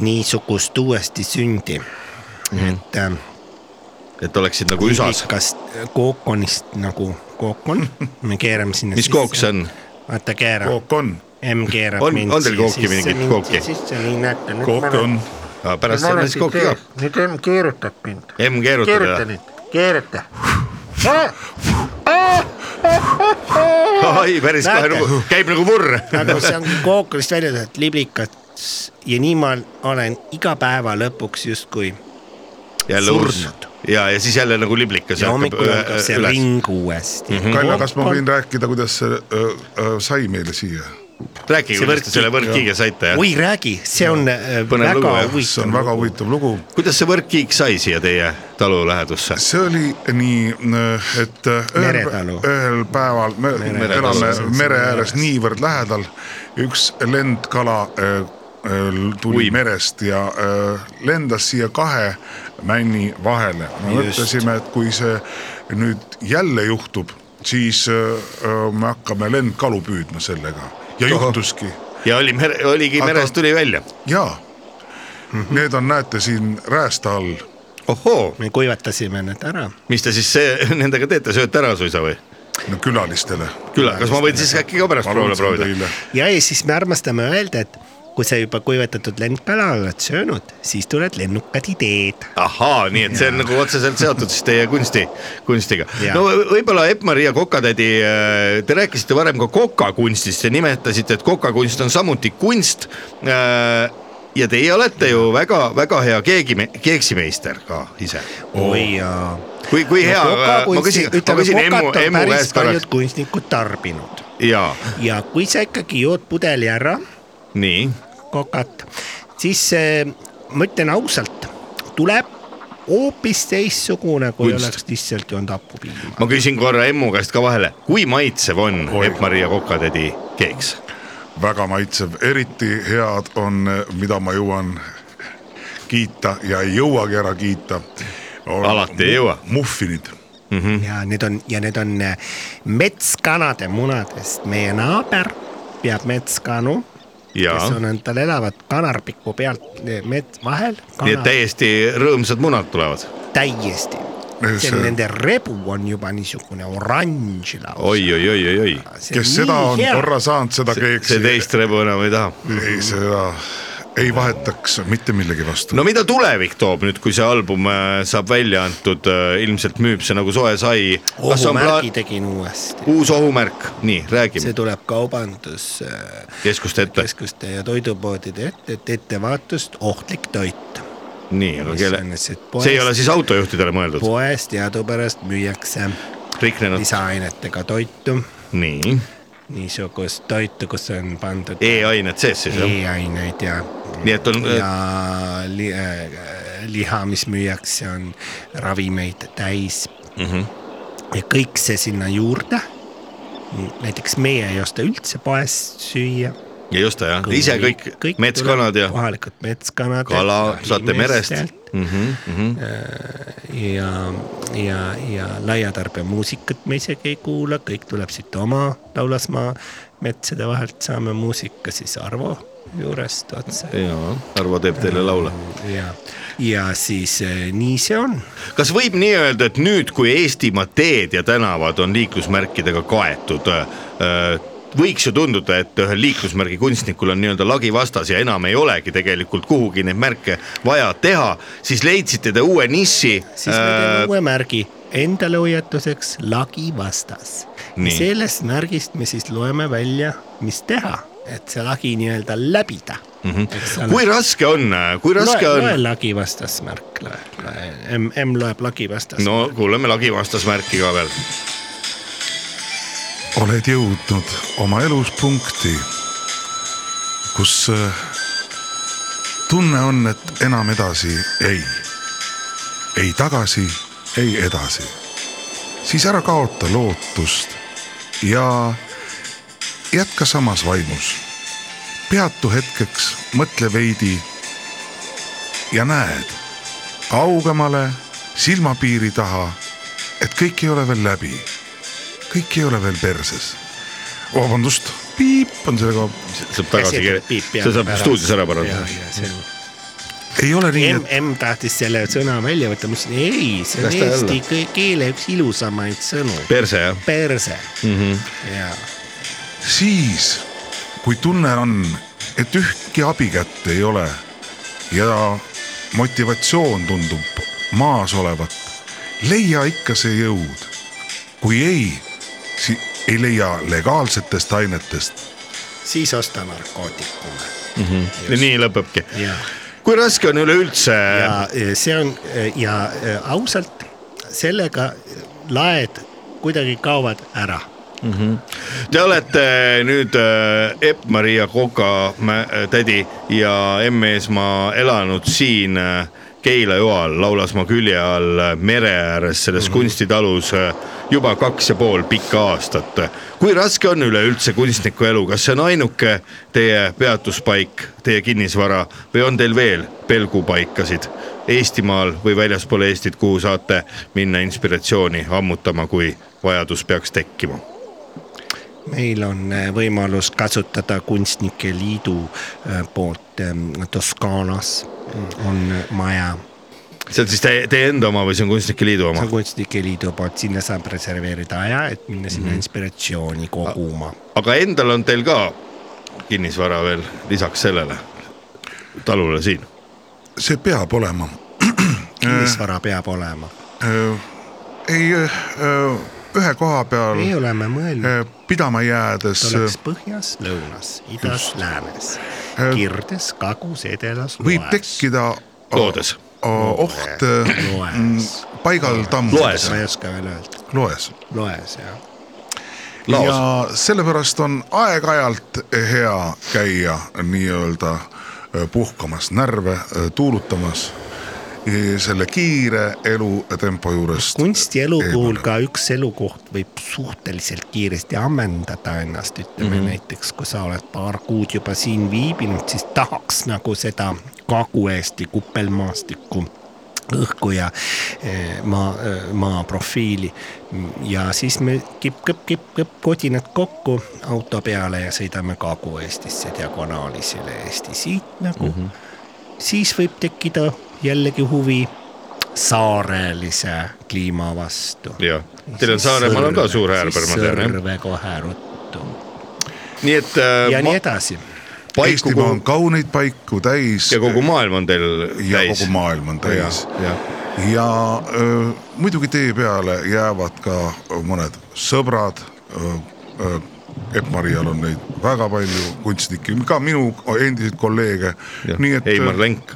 niisugust uuesti sündi
Mhm.
mm , -hmm. et äh,
et oleksid nagu üsas .
kookonist nagu kook on , me keerame sinna
mis kook see on ?
vaata , keerab .
kook on ,
M keerab
On-
mind
on teil kooki mingit kooki?
sisse , nii näete .
kook on .
pärast saame siis kokku ka .
nüüd M keerutab mind .
M keerutada
keeruta . nüüd , keeruta .
ai , päris kohe
Näete?
nagu , käib nagu murr .
nagu see on kooklist välja tulnud liblikad ja nii ma olen iga päeva lõpuks justkui
jälle uus
surnud. .
ja , ja siis jälle nagu liblikas
ja hommikul hakkab see
üles. Mhm.
ring uuesti .
Kaljo , kas ma võin rääkida , kuidas see öö, öö, sai meile siia ?
rääkige , kuidas te selle võrkkiige saite ja
oi räägi , see on äh,
Põnev lugu,
väga
jah.
see on väga
huvitav .
huvitav lugu
kuidas see võrkkiik sai siia teie talu lähedusse ?
see oli nii , et äh, ühel,
Meretalu.
ühel päeval me
Meretalu.
elame mere ääres
ääres.
niivõrd lähedal , üks lendkala äh, äh, tuli
Ui.
Uim. merest ja äh, lendas siia kahe männi vahele . me
Just.
mõtlesime , et kui see nüüd jälle juhtub , siis äh, äh, me hakkame lendkalu püüdma sellega ja juhtuski
ja oli mere , oligi
Aga-
merest tuli välja .
ja need on , näete siin räästa all
ohoo ,
me kuivatasime need ära .
mis te siis see, nendega teete , sööte ära suisa või ?
no, külalistele .
küll , kas ma võin siis äkki ka pärast proovida proovida ?.
ja , ja siis me armastame öelda , et kui sa juba kuivatatud lendkala oled söönud , siis tulevad lennukad ideed .
ahaa , nii et see on nagu otseselt seotud siis teie kunsti , kunstiga
Jaa. .
no võ- võib-olla Epp-Maria Kokatädi , te rääkisite varem ka kokakunstist ja nimetasite , et kokakunst on samuti kunst . ja teie olete ju väga-väga hea keegi , keeksimeister ka ise .
oi jaa .
kui , kui hea , ma küsin , ma küsin Emmu , Emmu käest
paljud
korraks .
kunstnikud tarbinud
jaa ,
ja kui sa ikkagi jood pudeli ära
nii ,
kokat , siis eh, ma ütlen ausalt , tuleb hoopis teistsugune , kui
Kunst.
Kunst. oleks lihtsalt joonud hapupiima .
ma küsin korra Emmu käest ka vahele , kui maitsev on Epp-Maria Kokatädi keeks ?
väga maitsev , eriti head on , mida ma jõuan kiita ja ei jõuagi ära kiita .
Alati ei jõua.
muffinid ,
Mhm.
ja need on ja need on eh, metskanade munadest , meie naaber peab metskanu ,
jaa
kes , on endal elavad kanarpiku pealt eh, mets vahel .
nii et täiesti rõõmsad munad tulevad
täiesti . see on nende rebu on juba niisugune oranž lausa .
oi , oi , oi , oi , oi .
kes seda on hea. korra saanud , seda keegi
see teist rebu enam ei taha .
ei seda ei vahetaks mitte millegi vastu no. .
no mida tulevik toob nüüd , kui see album äh, saab välja antud , ilmselt müüb see nagu soe sai . kas on
ohumärgi
plaan ,
tegin uuesti .
uus ohumärk , nii
see
räägime
tuleb kaubanduskeskuste
keskuste ette ,
ja toidupoodide ette , et ettevaatust ohtlik toit .
nii , aga kelle , see ei ole
poest ,
siis autojuhtidele mõeldud ,
poes teadupärast müüakse
riknenud ,
lisaainetega toitu ,
nii ,
niisugust toitu , kus on pandud
E-ained sees siis jah ,
e-aineid ja ,
nii et on ,
E ja li, äh, liha , mis müüakse , on ravimeid täis
mm -hmm.
ja kõik see sinna juurde . näiteks meie ei osta üldse poest süüa
ja just jah , ise kõik metskanad ja
kohalikud metskanad .
kala saate merest mm . -hmm, mm -hmm.
ja , ja , ja laiatarbemuusikat me isegi ei kuula , kõik tuleb siit oma Laulasmaa metsade vahelt , saame muusika siis Arvo juurest otse
jaa , Arvo teeb teile laule
ja , ja siis eh, nii see on .
kas võib nii öelda , et nüüd , kui Eestimaa teed ja tänavad on liiklusmärkidega kaetud , võiks ju tunduda , et ühel liiklusmärgi kunstnikul on nii-öelda lagi vastas ja enam ei olegi tegelikult kuhugi neid märke vaja teha , siis leidsite te uue niši .
siis me
Äh,
teeme uue märgi endale hoiatuseks lagi vastas .
Nii.
sellest märgist me siis loeme välja , mis teha , et see lagi nii-öelda läbida mm .
Mhm.
-hmm.
kui raske on , kui raske
loe,
on
loe ? lagi vastas märk , loe, loe , M , M loeb lagi vastas no. .
no kuuleme lagi vastas märki ka veel .
oled jõudnud oma elus punkti , kus äh, tunne on , et enam edasi ei , ei tagasi , ei edasi . siis ära kaota lootust ja jätka samas vaimus . peatu hetkeks , mõtle veidi ja näed kaugemale silmapiiri taha , et kõik ei ole veel läbi kõik ei ole veel perses . vabandust , piip on sellega ,
saab tagasi ,
piip
see saab stuudios ära parandada .
ei ole nii ,
M
et ,
M tahtis selle sõna välja võtta , ma ütlesin ei , see on
Las ta olla.
eesti kõ- keele üks ilusamaid sõnu .
perse jah ?
perse mm . -hmm. ja
siis kui tunne on , et ühtki abikätt ei ole ja motivatsioon tundub maas olevat , leia ikka see jõud . kui ei , siis ei leia legaalsetest ainetest .
siis osta narkootikume
nii lõpebki .
ja ,
kui raske on üleüldse
ja eh, see on eh, ja eh, ausalt sellega laed kuidagi kaovad ära .
Te olete nüüd äh, Epp-Maria Koka mä- tädi ja M Eesmaa elanud siin äh, Keila joal Laulasmaa külje all äh, mere ääres selles mm -hmm. kunstitalus äh, juba kaks ja pool pikka aastat . kui raske on üleüldse kunstniku elu , kas see on ainuke teie peatuspaik , teie kinnisvara või on teil veel pelgupaikasid Eestimaal või väljaspool Eestit , kuhu saate minna inspiratsiooni ammutama , kui vajadus peaks tekkima ?
meil on eh, võimalus kasutada Kunstnike Liidu eh, poolt em, Toskaanas äh, on maja ,
see on siis teie , teie enda oma või see on Kunstnike Liidu
see
oma
on ? Kunstnike Liidu poolt , sinna saab reserveerida aja , et minna sinna inspiratsiooni koguma
aga endal on teil ka kinnisvara veel lisaks sellele talule siin ?
see peab olema .
kinnisvara peab olema .
ei , ühe koha peal
ei ole me mõelnud ,
öö, pidama jäädes
et oleks põhjas , lõunas , idas , läänes , kirdes , kagus , edelas ,
võib
loes .
tekkida
Loodes.
o- Äh, oht öö,
Loes.
m, paigal
äh, Loes.
tammudes ,
ma ei oska veel öelda ,
loes .
loes jah .
laos ja... ,
ja sellepärast on aeg-ajalt hea käia nii-öelda öö, puhkamas närve , tuulutamas öö, selle kiire elutempo juures .
kunstielu
Ei,
puhul
ma-
ka üks elukoht võib suhteliselt kiiresti ammendada ennast , ütleme mm -hmm. näiteks , kui sa oled paar kuud juba siin viibinud , siis tahaks nagu seda Kagu-Eesti kupelmaastikku õhku ja eh, maa , maa profiili . ja siis me kipp-kõpp-kipp-kõpp kodinad kokku auto peale ja sõidame Kagu-Eestisse diagonaalis üle Eesti , siit nagu mm . -hmm. siis võib tekkida jällegi huvi saarelise kliima vastu .
jah , teil on Saaremaal on ka suur äärber , ma tean jah .
sõrve kohe ruttu
nii et
ja
äh,
nii
ma,
edasi .
paiku
Eestimaa on
kogu,
kauneid paiku täis
ja kogu maailm on teil
ja
täis
kogu . maailm on
ja
täis ,.
ja ,
ja öö, muidugi tee peale jäävad ka mõned sõbrad . Epp-Marial on neid väga palju kunstnikke , ka minu endiseid kolleege . nii
ja
et äh,
Heimar Lenk ,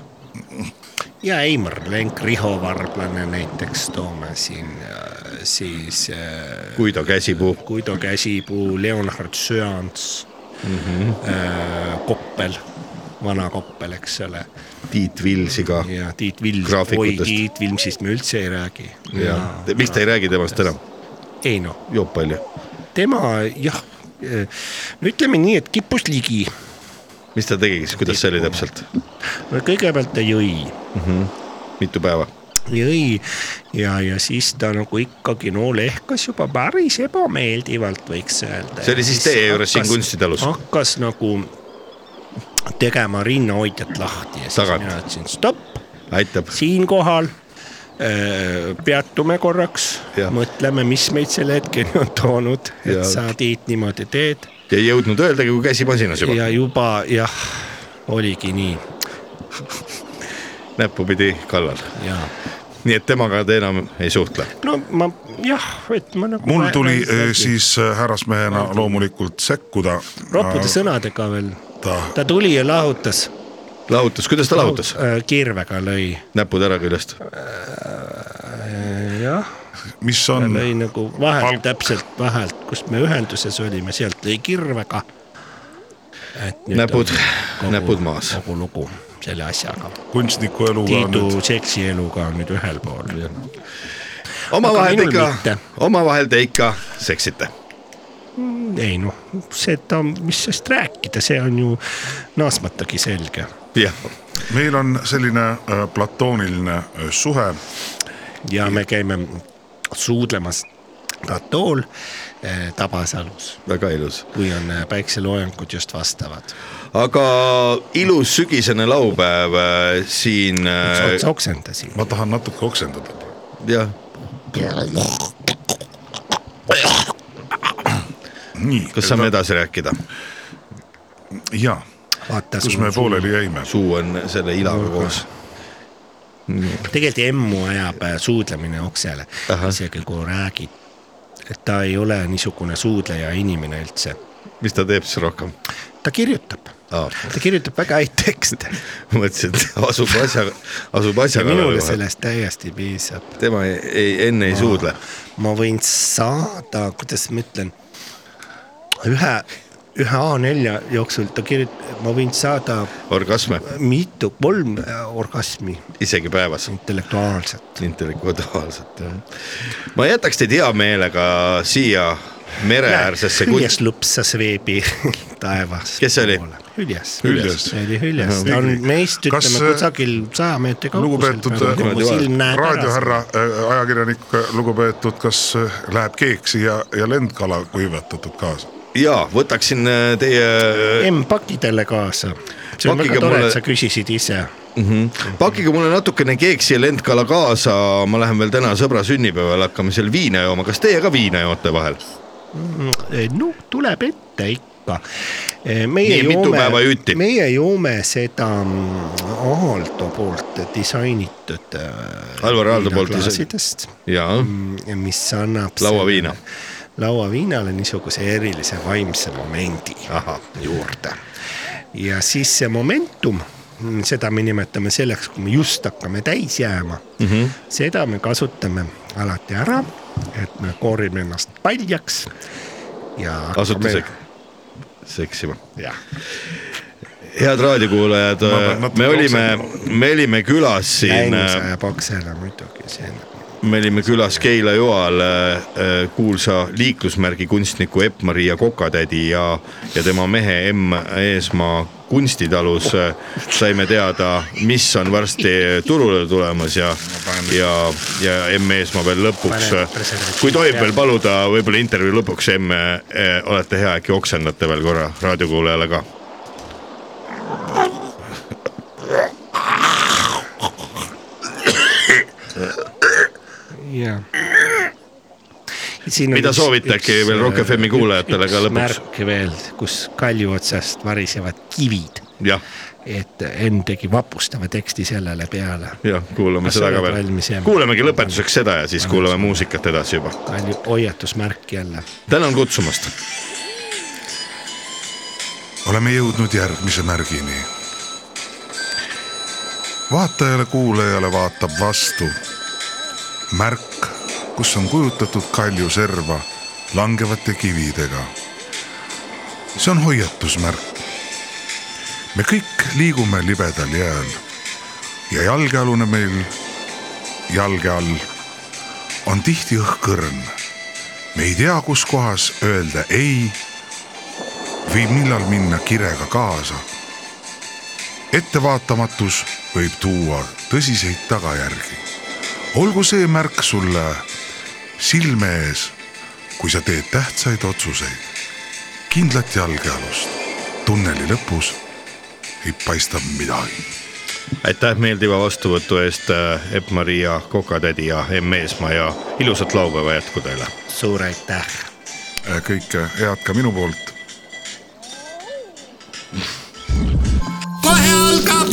ja Eimar Lenk , Riho Varblane näiteks toome siin äh, siis äh,
Guido Käsipuu ,
Guido Käsipuu , Leonhard Söans
Mhm.
mm , -hmm. äh, Koppel , vana Koppel , eks ole ,
Tiit Vilsiga ja,
ja Tiit Vilms , oi
Graafikutest.
Tiit Vilmsist me üldse ei räägi .
ja. . miks te ei räägi temast enam ?
ei noh ,
joob palju .
tema jah , no ütleme nii , et kippus ligi
mis ta tegi siis , kuidas see oli täpselt ?
no kõigepealt ta jõi ,
mitu päeva ?
jõi ja , ja siis ta nagu ikkagi no lehkas juba päris ebameeldivalt , võiks öelda .
See oli siis teie juures siin kunstitalus?
hakkas nagu tegema rinnahoidjat lahti ja siis
Tagant.
mina ütlesin stopp ,
aitab .
siinkohal öö, peatume korraks
Jah. ,
mõtleme , mis meid selle hetkeni on toonud , et
Ja.
sa Tiit niimoodi teed
ei jõudnud öeldagi , kui käsi masinas juba
ja juba jah , oligi nii
näppupidi kallal ,
ja
nii et temaga te enam ei suhtle .
no ma jah , et ma nagu .
mul tuli öö, siis öö, härrasmehena loomulikult sekkuda .
roppude sõnadega veel ,
ta
ta tuli ja lahutas .
lahutas , kuidas ta lahutas ?
kirvega lõi ,
näpud ära küljest .
jah ,
mis on
lõi nagu vahelt
Noh. Palk.
Palk. täpselt vahelt , kust me ühenduses olime , sealt lõi kirvega .
Näpud- näpud maas.
kogu nagu lugu selle asjaga .
kunstniku eluga on nüüd
Tiidu seksieluga on nüüd ühel pool .
omavahel te
minul
ikka
mitte. ,
omavahel te ikka seksite .
ei noh , seda , mis sest rääkida , see on ju naasmatagi selge .
jah ,
meil on selline öö, platooniline öö, suhe
ja me käime suudlemas atool eh, Tabasalus ,
väga ilus .
kui on eh, päikseloojangud just vastavad .
aga ilus sügisene laupäev äh, siin äh,
otsa oksendasin .
ma tahan natuke oksendada .
jah ,
nii ,
kas saame edasi rääkida ?
ja
vaatas
kus me pooleli jäime ?
suu on selle ilaga koos .
tegelikult emmu ajab äh, suudlemine oksele ,
Ahah.
isegi kui räägid , et ta ei ole niisugune suudleja inimene üldse .
mis ta teeb siis rohkem ?
ta kirjutab , ta kirjutab väga häid tekste
mõtlesin , et asub asjaga , asub
ja
asjaga .
minule sellest täiesti piisab .
tema ei, ei , enne ei suudle .
ma võin saada , kuidas ma ütlen , ühe , ühe A4 jooksul ta kirjutab , ma võin saada
orgasme
mitu , kolm äh, orgasmi
isegi päevas ,
intellektuaalselt .
intellektuaalselt jah . ma jätaks teid hea meelega siia mereäärsesse
hüljes
kutse .
lupsas veebi taevas .
Kes see oli?
hüljes .
Hüljes.
see oli Hüljes , ta on meist
Kas,
ütleme
äh,
kusagil saja meetri kaugusel .
lugupeetud, äh, raadiohärra , äh, ajakirjanik , lugupeetud , kas äh, läheb keeksi ja , ja lendkala kuivatatud kaasa ?
ja võtaksin äh, teie ,
M paki talle kaasa . see on
Pakige
väga tore ,
mulle-
et sa küsisid ise .
pakkige mulle natukene keeksi ja lendkala kaasa , ma lähen veel täna sõbra sünnipäeval , hakkame seal viina jooma , kas teie ka viina joote vahel ?
Äh, no tuleb ette ikka . meie
Nii, mitu päeva
joome
jutti? ,
meie joome seda mm, Aalto poolt disainitud .
Alvar Aalto poolt disa-
disainitud .
jaa ,
Mm,
mm, mis annab .
Lauaviina. .
lauaviinale niisuguse erilise vaimse momendi Aha. juurde . ja siis see momentum , seda me nimetame selleks , kui me just hakkame täis jääma mm .
Mhm.
-hmm. seda me kasutame alati ära , et me koorime ennast paljaks ja .
asute sek- , seksima .
jah ,
head raadiokuulajad
Ma pean , natuke
me olime
oksendama. ,
me olime külas siin
läinud
äh,
sajab oksele muidugi see
me olime külas Keila joal äh, äh, kuulsa liiklusmärgi kunstniku Epp-Maria Kokatädi ja , ja tema mehe M Eesmaa kunstitalus äh, saime teada , mis on varsti turule tulemas ja , ja , ja M Eesmaa veel lõpuks äh,
Pane preservatiiv .
kui tohib
peale.
veel paluda võib-olla intervjuu lõpuks , M , olete hea , äkki oksendate veel korra raadiokuulajale ka
ja . Siin on
Mida
üks-
soovite äkki
üks,
veel Rock
äh,
FM-i kuulajatele
üks
ka lõpuks?
märk veel , kus kalju otsast varisevad kivid ,
jah ,
et Enn tegi vapustava teksti sellele peale .
jah , kuulame
Kas sa
seda ka
oled
veel
valmis jääma? .
kuulamegi lõpetuseks seda ja siis kuulame muusikat edasi juba .
kalju hoiatusmärk jälle .
tänan kutsumast
oleme jõudnud järgmise märgini . vaatajale-kuulajale vaatab vastu märk , kus on kujutatud kalju serva langevate kividega . see on hoiatusmärk . me kõik liigume libedal jääl ja jalgealune meil jalge all on tihti õhkõrn . me ei tea , kus kohas öelda ei või millal minna kirega kaasa . ettevaatamatus võib tuua tõsiseid tagajärgi . olgu see märk sulle silme ees , kui sa teed tähtsaid otsuseid . kindlat jalgealust , tunneli lõpus ei paista midagi .
aitäh meeldiva vastuvõtu eest , Epp-Maria Kokatädi ja M Eesmaa ja ilusat laupäeva jätku teile .
suur aitäh .
kõike head ka minu poolt
kohe algab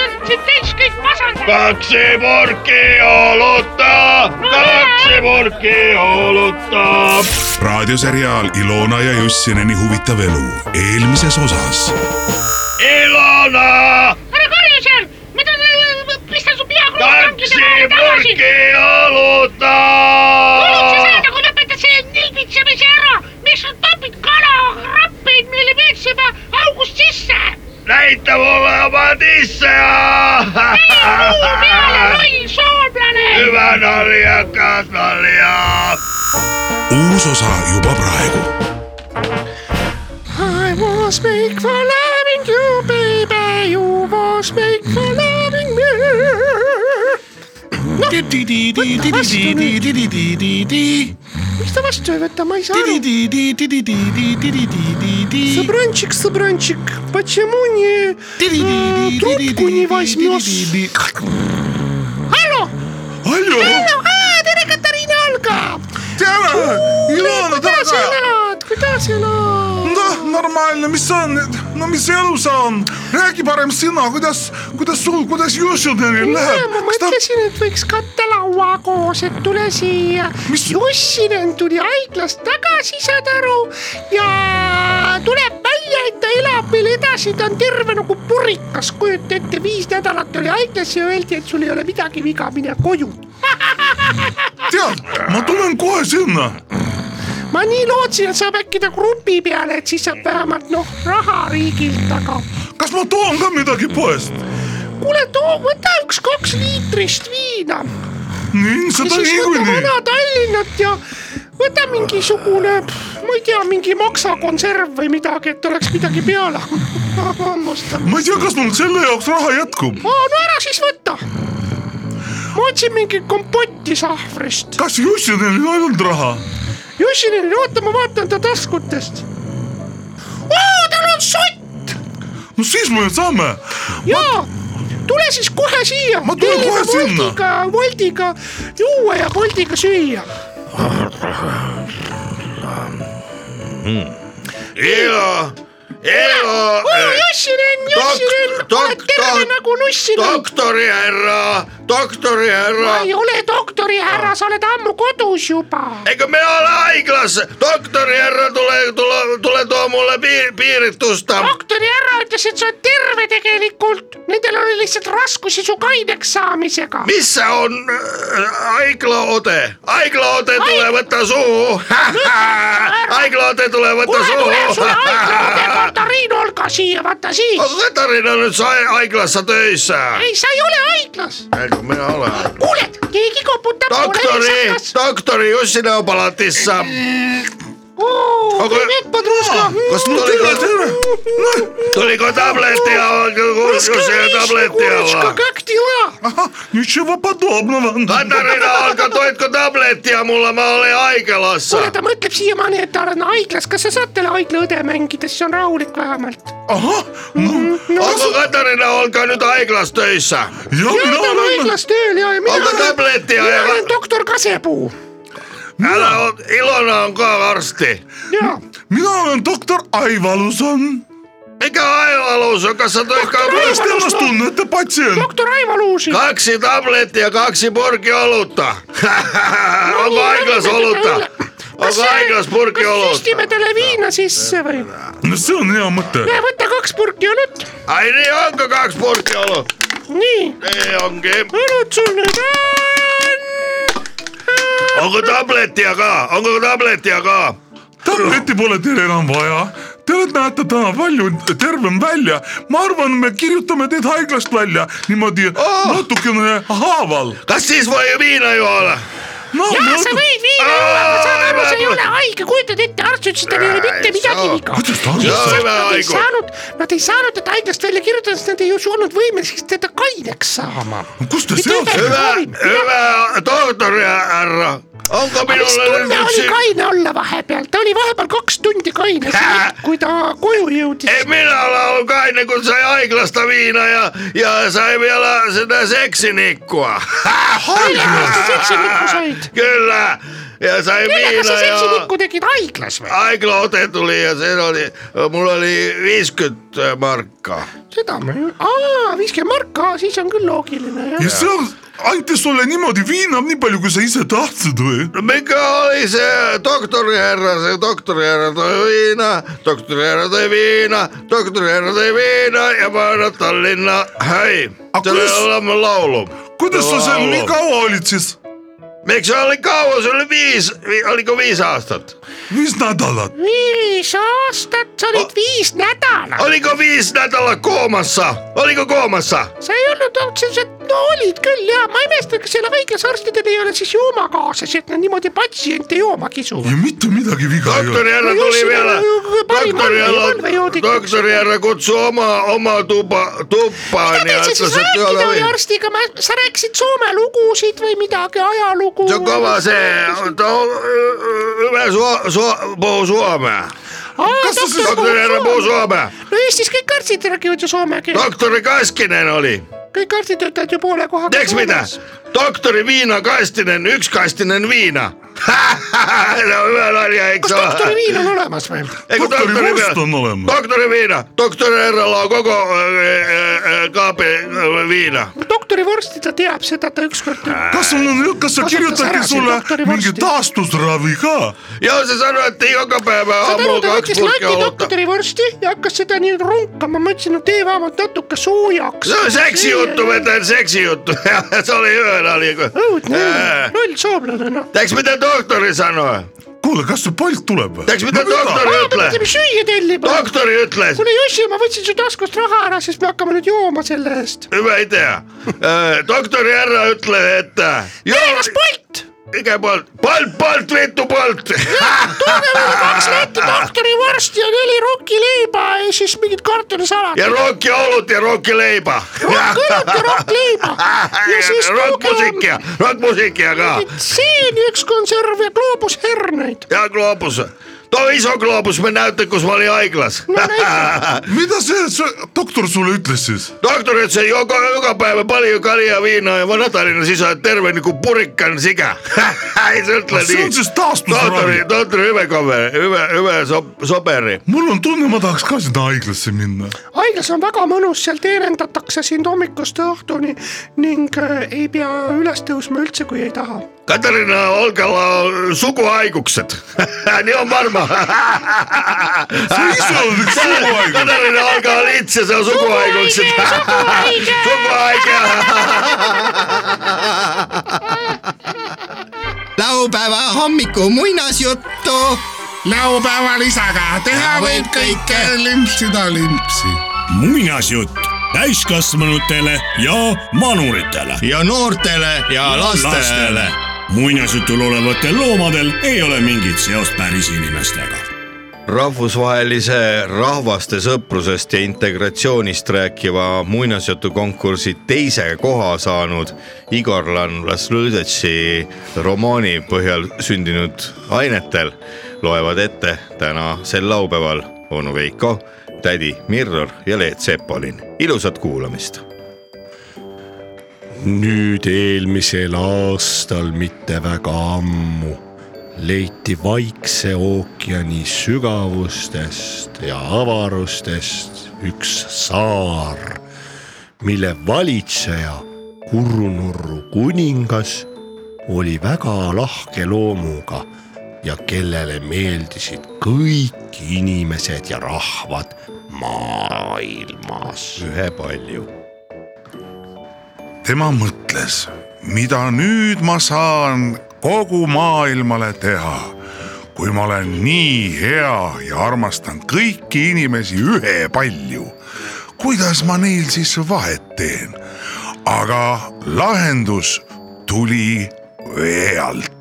oled siin täis kõik masendanud .
raadioseriaal Ilona ja Jussineni huvitav elu eelmises osas .
ära karju seal , mida , pista su pea krokodillide vahele tagasi . kuulid sa seda , kui lõpetad selle nilbitsemise ära , miks sa topid kalakrappeid meile veetsema august sisse ? näita mulle oma tisse . ei , muu peale , loll soomlane . hüva
nalja , kas nalja .
uus osa juba praegu .
I was made for loving you, baby. You was made for loving me. Mis ta vastu ei võta , ma ei saa aru . sõbrančik , sõbrančik , почему не э, трубку не возьмешь? Алло ,
Aljo ,
Allo , tere , Katariina Alga .
tere , Ilona , tere
kuidas elad , kuidas elad ?
noh , normaalne , mis on , no mis see elu see on , räägi parem sina , kuidas , kuidas sul , kuidas Jussinenil läheb
ma ,
kas ta ,
mõtlesin , et võiks kattelaua koos , et tule siia . Jussinen tuli haiglast tagasi , saad aru , ja tuleb välja , et ta elab veel edasi , ta on terve nagu purikas , kujuta ette , viis nädalat oli haiglas ja öeldi , et sul ei ole midagi viga , mine koju .
tead , ma tulen kohe sinna ,
ma nii lootsin , et saab äkki ta grupi peale , et siis saab vähemalt noh , raha riigilt , aga
kas ma toon ka midagi poest ?
kuule , too , võta üks kaks liitrist viina .
nii ,
ja
seda
siis võta
niikuinii
vana . Tallinnat ja võta mingisugune , ma ei tea , mingi maksakonserv või midagi , et oleks midagi peale hammustada .
ma ei tea , kas mul selle jaoks raha jätkub ,
aa , no ära siis võta . ma otsin mingit kompotti sahvrist .
kas Jussinenil on ainult raha ?
Jussinil , oota , ma vaatan ta taskutest . oo , tal on sott
no siis me saame ,
jaa , tule siis kohe siia .
Ma tulen kohe sinna.
Woldiga , Woldiga juua ja Woldiga süüa .
Elo , Elo ,
oo , Jussinen , Jussinen , oled terve nagu nussinen .
doktorihärra , doktorihärra
ma ei ole doktorihärra , sa oled ammu kodus juba .
ega me ole haiglas , doktorihärra , tule , tule , tule too mulle piir , piiritust .
doktorihärra ütles , et sa oled terve tegelikult , nendel oli lihtsalt raskusi su kaineks saamisega .
mis see on äh, haiglaode , haiglaode , tule võta suhu . haiglaode , tule võta
kohe tuleb
suhu
sulle . haiglaõde Katariin Olga siia , vaata siis .
aga Katarin on nüüd sai- haiglasse töös .
ei , sa ei ole haiglas ,
ega mina ole .
kuuled , keegi koputab .
doktori , doktori Jussina palatisse .
oo ,
Aga-
привет , подружка .
kas tuli ka , tuli ka tableti ja kurskuse tableti ja
Курочка , как дела ?
Nitševa podobnova .
Katarina , aga toitku tableti ja mulle , ma olen haiglas .
kuule , ta mõtleb siiamaani , et ta on haiglas , kas sa saad talle haiglaõde mängida , siis on rahulik vähemalt .
ahah , no
aga Katarina , on ka nüüd haiglas töös .
ja
ja
mina
ta on
olen ,
haiglas tööl ja , ja mina
Aga tableti ja-
mina olen doktor Kasepuu .
ära , Ilona on ka arsti .
ja ,
mina olen doktor Aivaluson .
mikä aivalus on , kas sa toid ka
kas te ennast tunnete patsient ?
doktor Aivo Luusi .
kaksi tabletti ja kaksi purki olutta .
No niin,
onko haiglas olutta ? onko haiglas purki
kas
olutta ?
süstime talle viina sisse või ?
no see on hea mõte ,
näe , võta kaks purki õlut .
ai niin onko kaksi purki olutta ?
nii ,
ei onkin .
õlut sul nüüd on .
Onko tablettia ka ? Onko tablettia ka ?
tableti pole teil enam vaja . Te näete täna palju tervem välja , ma arvan , me kirjutame teid haiglast välja niimoodi
Oh!
natukene haaval .
kas siis voi viina juoda ?
no
jaa , sa võid viina juua , ma saan aru , sa ei ole haige , kujutad ette , arst ütles , et tal ei ole mitte midagi viga .
kuidas ta
Jaa,
arvas ?
ei ole
Nad ei
haigu.
saanud , nad ei saanud teda haiglast välja kirjutada , sest nad ei usu- olnud võimeliseks teda kaineks saama .
kust te
Mitte
sealt
midagi.
hyvä , hyvä tohtori härra . Onko
aga mis
minulle
tunne
nyt
oli
yksi ?
kaine olla vahepeal , ta oli vahepeal kaks tundi kaine , kui ta koju
Ei
jõudis .
minä ole ollut kainen, kun sai aiklasta viina ja, ja sai vielä sitä seksinikkua.
Haiglast sa seksinikku said ?
Kyllä. Ja sai
kellega sa
viina ja
seksinikku tegid , haiglas või ?
aiklaote tuli ja se oli, mulla oli 50 markkaa.
seda ma ei , aa , viiskümmend marka , siis on küll loogiline
ja
jah .
see on , anti sulle niimoodi viina nii palju , kui sa ise tahtsid või ?
No mikä oli se tohtoriherra, se tohtoriherra toi viina, tohtoriherra toi viina, tohtoriherra toi viina ja mä aina Tallinna, hei,
A
tulee
kus-
olemaan laulu.
kuidas sa seal
Laulu.
nii kaua olid siis ?
Miksi se oli kauan, se oli viisi, vi- oliko viisi aastat?
viis nädalat .
viis aastat , sa olid viis nädalat .
Oliko viisi nädala koomassa? Oliko koomassa?
sa ei olnud otseselt no olid küll ja ma imestan , kas seal haiglas arstidel ei ole siis joomakaaslas , et nad niimoodi patsiente jooma kisuvad .
ja mitte midagi viga ei
doktori härra tuli peale , doktori härra , doktori härra kutsu oma , oma tuba , tuppa .
mida te siis rääkida oli arstiga , sa rääkisid Soome lugusid või midagi , ajalugu ?
see on kõva see , ta on üle Soo- , Soo- , Puu Soome .
Aa, doktor
doktor härra Puu Soome ,
no Eestis kõik arstid räägivad ju soome keelt ,
doktor Kaskinen oli ,
kõik arstid töötavad ju poole kohaga .
teeks mida ? doktori Viina Kastinen , üks Kastinen viina . no hüve nalja , eks
kas doktori
ole .
viin on olemas või ?
doktori vorst on olemas . doktori Viina , doktor härra lao kogu äh, äh, äh, kaabi äh, viina .
doktori vorsti ta teab seda , ta ükskord .
kas sul on , kas sa kirjutadki sulle mingi taastusravi ka ?
ja see sõna , et iga päev
saad aru ,
ammu kaks
ta võttis
purki
lati
oota .
doktori vorsti ja hakkas seda nii ronkama , ma ütlesin , no tee vähemalt natuke soojaks .
see on seksi juttu , ma ütlen seksi juttu , see oli ühe nali .
õudne , loll soomlane noh .
Teeks mida doktori sanoi ,
kuule , kas sul palk tuleb või ?
teeks mida doktor
ütleb
ütle ,.
süüa tellima .
doktor ütles ,
kuule Jussi , ma võtsin su taskust raha ära , siis me hakkame nüüd jooma selle eest .
ma ei tea , doktori härra ütle , et .
Tallinnas Bolt ,
igal pool , Bolt , Bolt , Vitu Bolt .
tooge mulle kaks letti doktori vorsti ja neli rokileiba ja siis mingid kartulisalat .
ja rooki olut ja rooki leiba .
rokkõlut ja rokkleiba ja siis
rokkmuusik
tooge
ja , rokkmuusik ja ka
seeni üks konserv ja gloobus herneid .
ja gloobus , too iso gloobus , me näitan , kus ma olin haiglas .
mida see, see doktor sulle ütles siis ?
doktor ütles , et joka , joka päivä paljon kaljaa , viinaa ja vanatalina sisä terve niinku purikkan sikä . ei se ütle
No se on
niin .
siis taastusravi.
Tohtori , tohtori hyvä kaveri , hyvä , hyvä so, soperi .
mul on tunne , ma tahaks ka sinna haiglasse minna .
haiglas on väga mõnus , seal teenindatakse sind hommikust õhtuni ning äh, ei pea üles tõusma üldse , kui ei taha .
Katarina Olkala sukuhaikukset . niin on varma .
see ise on üks suguhaiglas .
Katarina Olkala on itse se on sukuhaikukset .
laupäeva hommiku muinasjuttu .
laupäeval isaga teha võib kõike , limpsida limpsi .
muinasjutt täiskasvanutele ja manuritele .
ja noortele ja lastele .
muinasjutul olevatel loomadel ei ole mingit seost päris inimestega .
rahvusvahelise rahvaste sõprusest ja integratsioonist rääkiva muinasjutukonkursi teise koha saanud igorlan Vlaslõdetši romaani põhjal sündinud ainetel loevad ette täna sel laupäeval onu Veiko , tädi Mirror ja Leet Sepolin . ilusat kuulamist
nüüd eelmisel aastal mitte väga ammu leiti Vaikse ookeani sügavustest ja avarustest üks saar , mille valitseja Kurunurru kuningas oli väga lahke loomuga ja kellele meeldisid kõik inimesed ja rahvad maailmas .
ühepalju .
tema mõtles , mida nüüd ma saan kogu maailmale teha , kui ma olen nii hea ja armastan kõiki inimesi ühepalju . kuidas ma neil siis vahet teen ? aga lahendus tuli vee alt .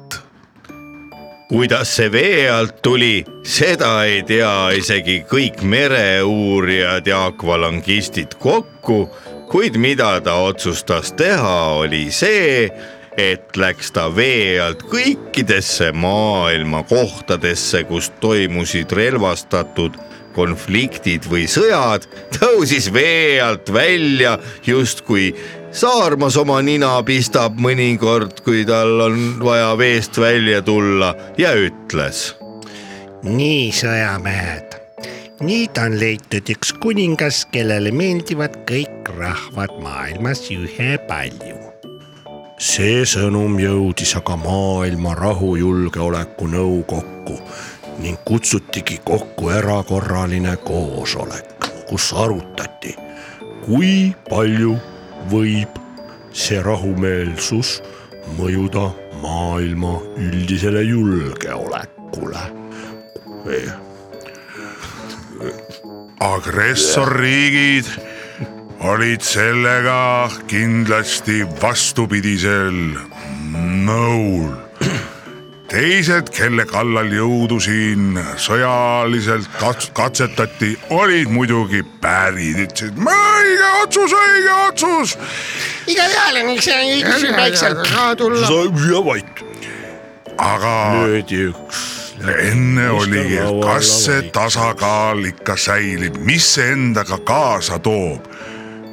kuidas see vee alt tuli , seda ei tea isegi kõik mereuurijad ja akvalangistid kokku , kuid mida ta otsustas teha , oli see , et läks ta vee alt kõikidesse maailma kohtadesse , kus toimusid relvastatud konfliktid või sõjad , tõusis vee alt välja justkui saarmas oma nina pistab mõnikord , kui tal on vaja veest välja tulla ja ütles .
nii , sõjamehed , nüüd on leitud üks kuningas , kellele meeldivad kõik rahvad maailmas ühepalju .
see sõnum jõudis aga maailma rahujulgeolekunõukokku ning kutsutigi kokku erakorraline koosolek , kus arutati , kui palju võib see rahumeelsus mõjuda maailma üldisele julgeolekule .
agressorriigid
olid sellega kindlasti vastupidisel nõul . teised , kelle kallal jõudu siin sõjaliselt kats- katsetati , olid muidugi pärid , ütlesid "Ma- õige otsus , õige otsus .
igaühel on see õigus väikselt ka tulla .
ja vait . aga . löödi üks . enne oligi , kas see tasakaal ikka säilib , mis see endaga kaasa toob ?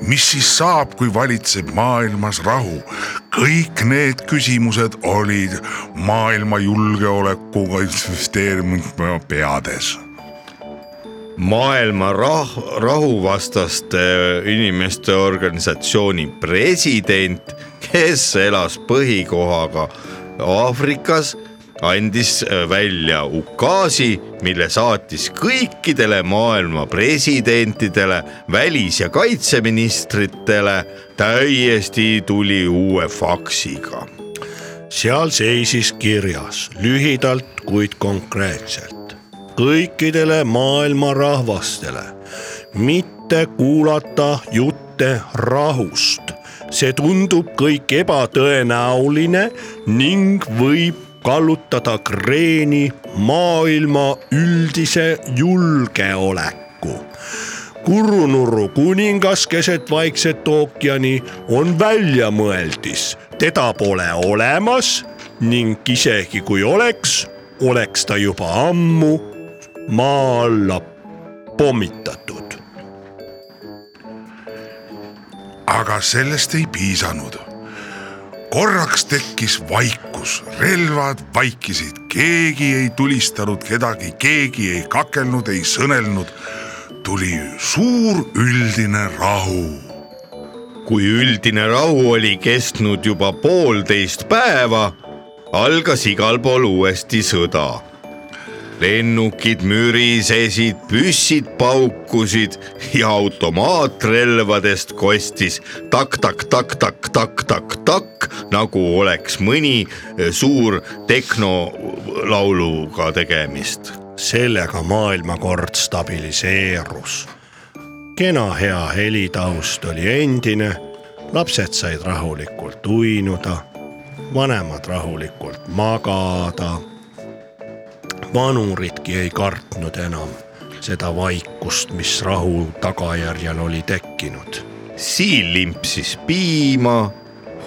mis siis saab , kui valitseb maailmas rahu ? kõik need küsimused olid maailma julgeolekuministeeriumi peades .
maailma rah- , rahuvastaste äh, inimeste organisatsiooni president , kes elas põhikohaga Aafrikas , andis äh, välja ukaasi , mille saatis kõikidele maailma presidentidele , välis- ja kaitseministritele , täiesti tuli uue faksiga
seal seisis kirjas lühidalt , kuid konkreetselt kõikidele maailma rahvastele mitte kuulata jutte rahust . see tundub kõik ebatõenäoline ning võib kallutada kreeni maailma üldise julgeoleku kurunurru kuningas keset Vaikset ookeani on väljamõeldis , teda pole olemas ning isegi kui oleks , oleks ta juba ammu maa alla pommitatud .
aga sellest ei piisanud . korraks tekkis vaikus , relvad vaikisid , keegi ei tulistanud kedagi , keegi ei kakelnud , ei sõnelnud . tuli suur üldine rahu .
kui üldine rahu oli kestnud juba poolteist päeva , algas igal pool uuesti sõda . lennukid mürisesid , püssid paukusid ja automaatrelvadest kostis tak-tak-tak-tak-tak-tak-tak , nagu oleks mõni suur tehnolauluga tegemist .
sellega maailmakord stabiliseerus . kena hea helitaust oli endine , lapsed said rahulikult uinuda , vanemad rahulikult magada . vanuridki ei kartnud enam seda vaikust , mis rahu tagajärjel oli tekkinud .
siil limpsis piima ,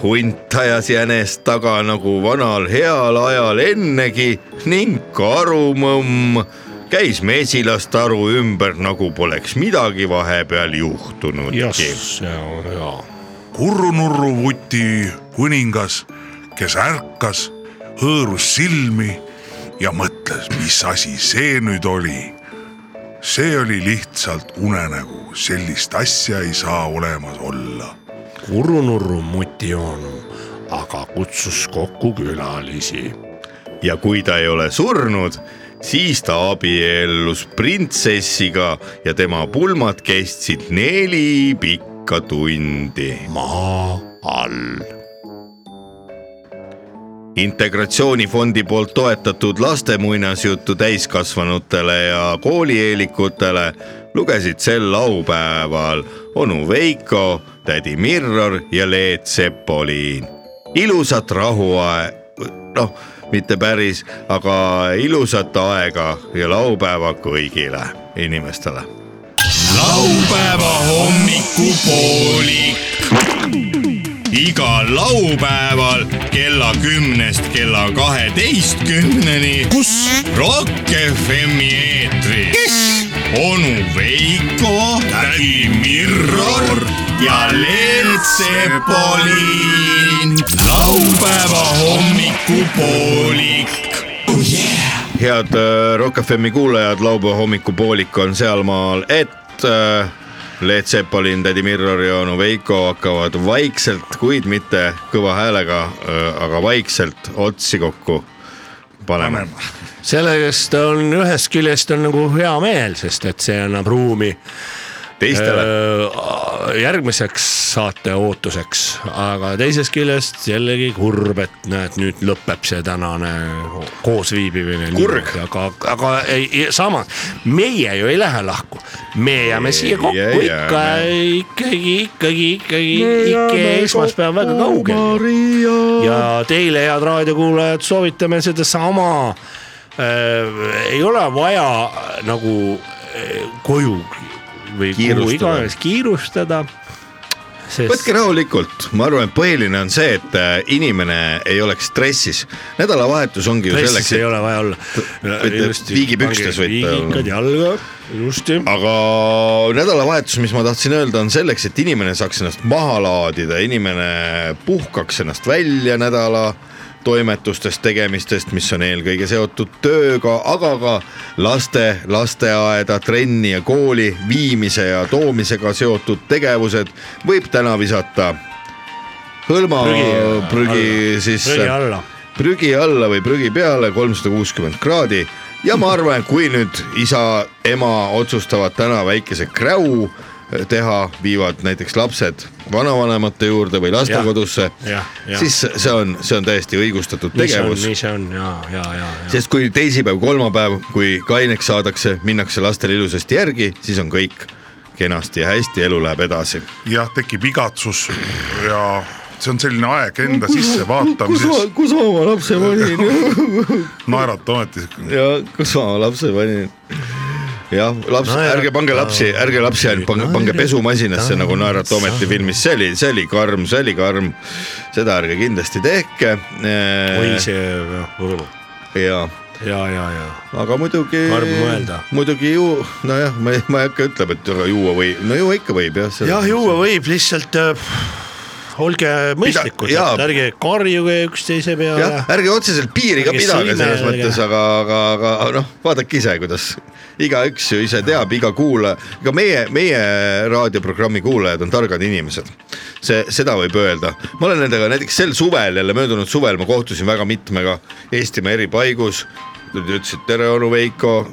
hunt ajas jänest taga nagu vanal heal ajal ennegi ning karumõmm käis mesilastaru ümber , nagu poleks midagi vahepeal juhtunudki .
kurunurru vuti kuningas , kes ärkas , hõõrus silmi ja mõtles , mis asi see nüüd oli . see oli lihtsalt unenägu , sellist asja ei saa olemas olla .
kurunurru mutioonu aga kutsus kokku külalisi .
ja kui ta ei ole surnud , siis ta abiellus printsessiga ja tema pulmad kestsid neli pikka tundi .
maa all .
integratsioonifondi poolt toetatud laste muinasjuttu täiskasvanutele ja koolieelikutele lugesid sel laupäeval onu Veiko , tädi Mirror ja Leet Sepoliin . ilusat rahuaeg , noh , mitte päris , aga ilusat aega ja laupäeva kõigile inimestele
laupäeva hommikupoolik . igal laupäeval kella kümnest kella kaheteistkümneni . kus ? Rock FM-i eetris . kes ? onu Veiko , tädi Mirror ja Leelt Sepolin . laupäeva hommikupoolik .
head äh, Rock FM-i kuulajad , laupäeva hommikupoolik on sealmaal , et äh, Leet Sepolin , tädi Mirror ja onu Veiko hakkavad vaikselt , kuid mitte kõva häälega , aga vaikselt otsi kokku panema .
sellest on ühest küljest on nagu hea meel , sest et see annab ruumi .
Äh,
teistele .
järgmiseks saate ootuseks , aga teisest küljest jällegi kurb , et näed , nüüd lõpeb see tänane koosviibimine . kurg . aga , aga ei, ei, samas meie ju ei lähe lahku , me jääme siia kokku ikka , ikkagi , ikkagi , ikkagi , ikka esmaspäev väga kaugel . ja teile , head raadiokuulajad , soovitame sedasama . ei ole vaja äh, nagu äh, koju või kuhu
Kiirustada.
iganes kiirustada . sest
võtke rahulikult , ma arvan , et põhiline on see , et äh, inimene ei oleks stressis . nädalavahetus ongi ju
Stressis
selleks .
ei ole vaja olla .
Äh,
Ilusti
viigipükstes
pange
võite olla
viigikad . jalga , ilusti .
aga nädalavahetus , mis ma tahtsin öelda , on selleks , et inimene saaks ennast maha laadida , inimene puhkaks ennast välja nädala toimetustest , tegemistest , mis on eelkõige seotud tööga , aga ka laste , lasteaeda , trenni ja kooli viimise ja toomisega seotud tegevused võib täna visata hõlma
Prügi-
prügi
alla.
sisse .
Prügi alla.
prügi alla või prügi peale kolmsada kuuskümmend kraadi ja ma arvan , et kui nüüd isa , ema otsustavad täna väikese kräu eh, teha , viivad näiteks lapsed vanavanemate juurde või lastekodusse ,
jah , jah .
siis see on , see on täiesti õigustatud tegevus .
nii see on ja , ja , ja , ja .
sest kui teisipäev , kolmapäev , kui kaineks saadakse , minnakse lastele ilusasti järgi , siis on kõik kenasti ja hästi , elu läheb edasi .
jah , tekib igatsus ja see on selline aeg enda sissevaatamises ,
kus ma oma lapse
panin? naerata ometi .
ja kus ma oma lapse panin ? jah , laps no, ,
Naerata-
ärge pange lapsi , ärge lapsi ainult pange , pange pesumasinasse nagu Naerata ometi filmis , see oli , see oli karm , see oli karm . seda ärge kindlasti tehke . Äh,
oi see , jah ,
ja ,
ja , ja , ja .
aga muidugi
Karm mõelda. .
muidugi ju , nojah , ma ei , ma ei hakka ütlema , et aga juua või , no juua ikka võib jah .
jah , juua võib lihtsalt äh, olge mõistlikud ,
jaa.
ärge karjuge üksteise peale
jah ,. ärge otseselt piiri ka
Ärge
pidage selles
sõimelige.
mõttes , aga , aga , aga noh , vaadake ise , kuidas igaüks ju ise teab , iga kuulaja , ka meie , meie raadioprogrammi kuulajad on targad inimesed . see , seda võib öelda , ma olen nendega näiteks sel suvel jälle möödunud suvel ma kohtusin väga mitmega Eestimaa eri paigus . Nad ütlesid tere , onu Veiko ,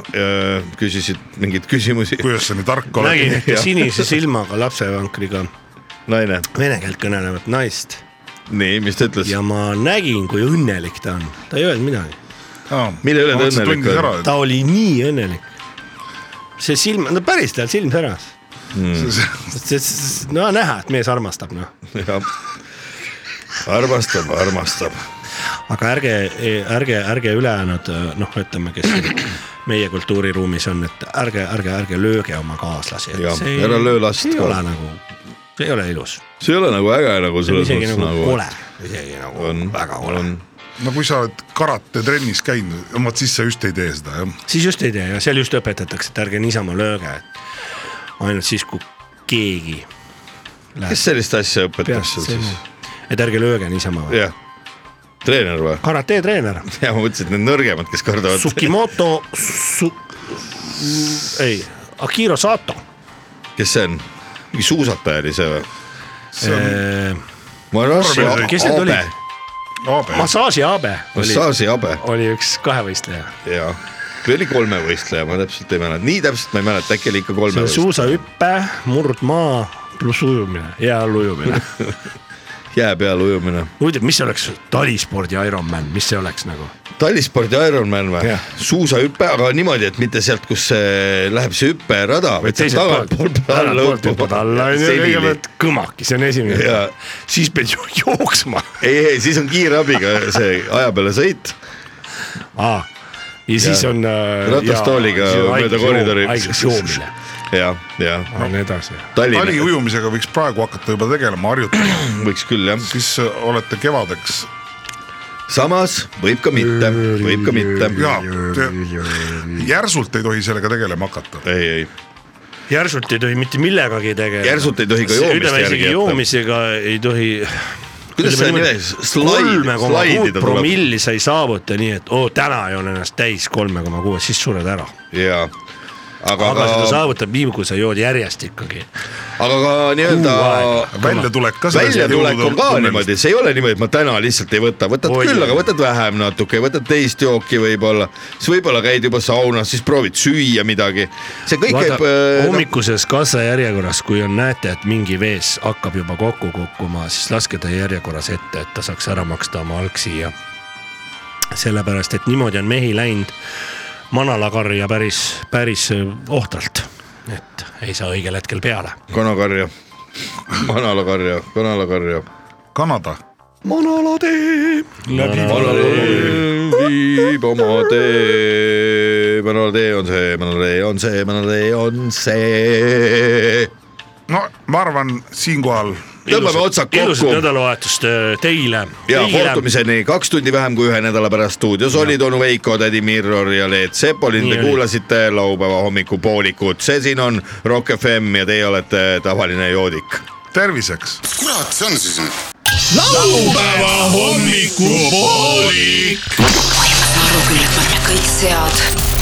küsisid mingeid küsimusi .
kuidas sa nii tark
nägin ühte sinise silmaga lapsevankriga
naine ,
vene keelt kõnelevat naist .
nii , mis ta ütles ?
ja ma nägin , kui õnnelik ta on , ta ei öelnud midagi .
Mille üle ta Ma mõtlesin, et õnnelik tundis oli? ära, et-
ta oli nii õnnelik . see silm , no päris tal silm säras .
Hmm.
no näha , et mees armastab noh .
armastab , armastab .
aga ärge , ärge , ärge ülejäänud noh , ütleme , kes siin meie kultuuriruumis on , et ärge , ärge , ärge lööge oma kaaslasi .
Jah, ära löö last
ei
ka.
ole nagu , see ei ole ilus .
see ei ole nagu äge nagu
see on
selles
isegi
mõttes
nagu
nagu .
kole , isegi nagu on, väga kole .
no kui sa oled karatetrennis käinud , vot siis sa just ei tee seda jah .
siis just ei tee ja seal just õpetatakse , et ärge niisama lööge , et ainult siis , kui keegi
kes sellist asja õpetab
peast
sul siis ?
sinna , et ärge lööge niisama .
jah , treener või ?
karate treener ,
ja ma mõtlesin , et need nõrgemad , kes kardavad .
Tsukimoto su... , ei , Akiro Sato .
kes see on ? mingi suusataja oli see või ?
on-
Manashi
Kes- kes need
Abe
olid? , massaaži Abe oli ,
Manashi Abe .
oli üks kahevõistleja .
jaa , või oli kolmevõistleja , ma täpselt ei mäleta , nii täpselt ma ei mäleta , äkki oli ikka
see on
kolmevõistleja .
suusahüpe , murdmaa pluss ujumine , jää all ujumine .
jää peal ujumine .
huvitav , mis oleks talispordi Ironman , mis see oleks nagu ?
tallispordi Ironman või
Jah. ?
suusahüpe , aga niimoodi , et mitte sealt , kus see läheb see hüperada , vaid sealt tagantpoolt peale
tagantpoolt hüppad alla onju ,
lõõpama .
kõigepealt kõmaki , see on esimene .
ja
siis pead ju- jooksma .
ei , ei siis on kiirabiga see aja peale sõit .
ja siis
Ja.
on . äh,
ratastooliga mööda koridori .
haiglas joomine .
jah , jah .
ja nii edasi .
tali ujumisega võiks praegu hakata juba tegelema , harjutama .
võiks küll jah .
siis äh, olete kevadeks .
samas võib ka mitte , võib ka mitte .
ja , järsult ei tohi sellega tegelema hakata .
ei , ei ,
järsult ei tohi mitte millegagi tegeleda .
Järsult ei tohi ka joomist
ütleme
järgi
isegi
jätta.
joomisega ei tohi .
Kuidas see nimeks- slaid-
kolme koma
slaidida
kuut
tuleb?
promilli sa ei saavuta nii , et oo täna joon ennast täis kolme koma kuue , siis sured ära .
ja . aga,
aga seda saavutab nii , kui sa jood järjest ikkagi .
aga ka nii-öelda
Väljatulek ka selles
väljatulek on ka
jõulutunnelist.
niimoodi , see ei ole niimoodi , et ma täna lihtsalt ei võta , võtad
Oi,
küll ,
oi.
aga võtad vähem natuke , võtad teist jooki võib-olla , siis võib-olla käid juba saunas , siis proovid süüa midagi . see kõik
Vaata,
käib äh, noh,
hommikuses kassajärjekorras , kui on , näete , et mingi vees hakkab juba kokku kukkuma , siis laske ta järjekorras ette , et ta saaks ära maksta oma algsi ja sellepärast , et niimoodi on mehi läinud manalakarja päris , päris äh, ohtralt , et ei saa õigel hetkel peale .
noh, kanakarja , kanalakarja , kanalakarja .
Kanada .
manalatee .
viib oma tee , manalatee on see , manalatee on see , manalatee on see .
no ma arvan , siinkohal
tõmbame otsad kokku
ilusat nädalavahetust äh, teile .
ja kohtumiseni kaks tundi vähem kui ühe nädala pärast stuudios olid onu Veiko , tädi Mirror ja Leet Sepolin .
Nii
Te
oli.
kuulasite laupäeva hommikupoolikut , see siin on Rock FM ja teie olete tavaline joodik .
terviseks .
kurat , see on siis nüüd .
laupäeva hommikupoolik .
kõik sead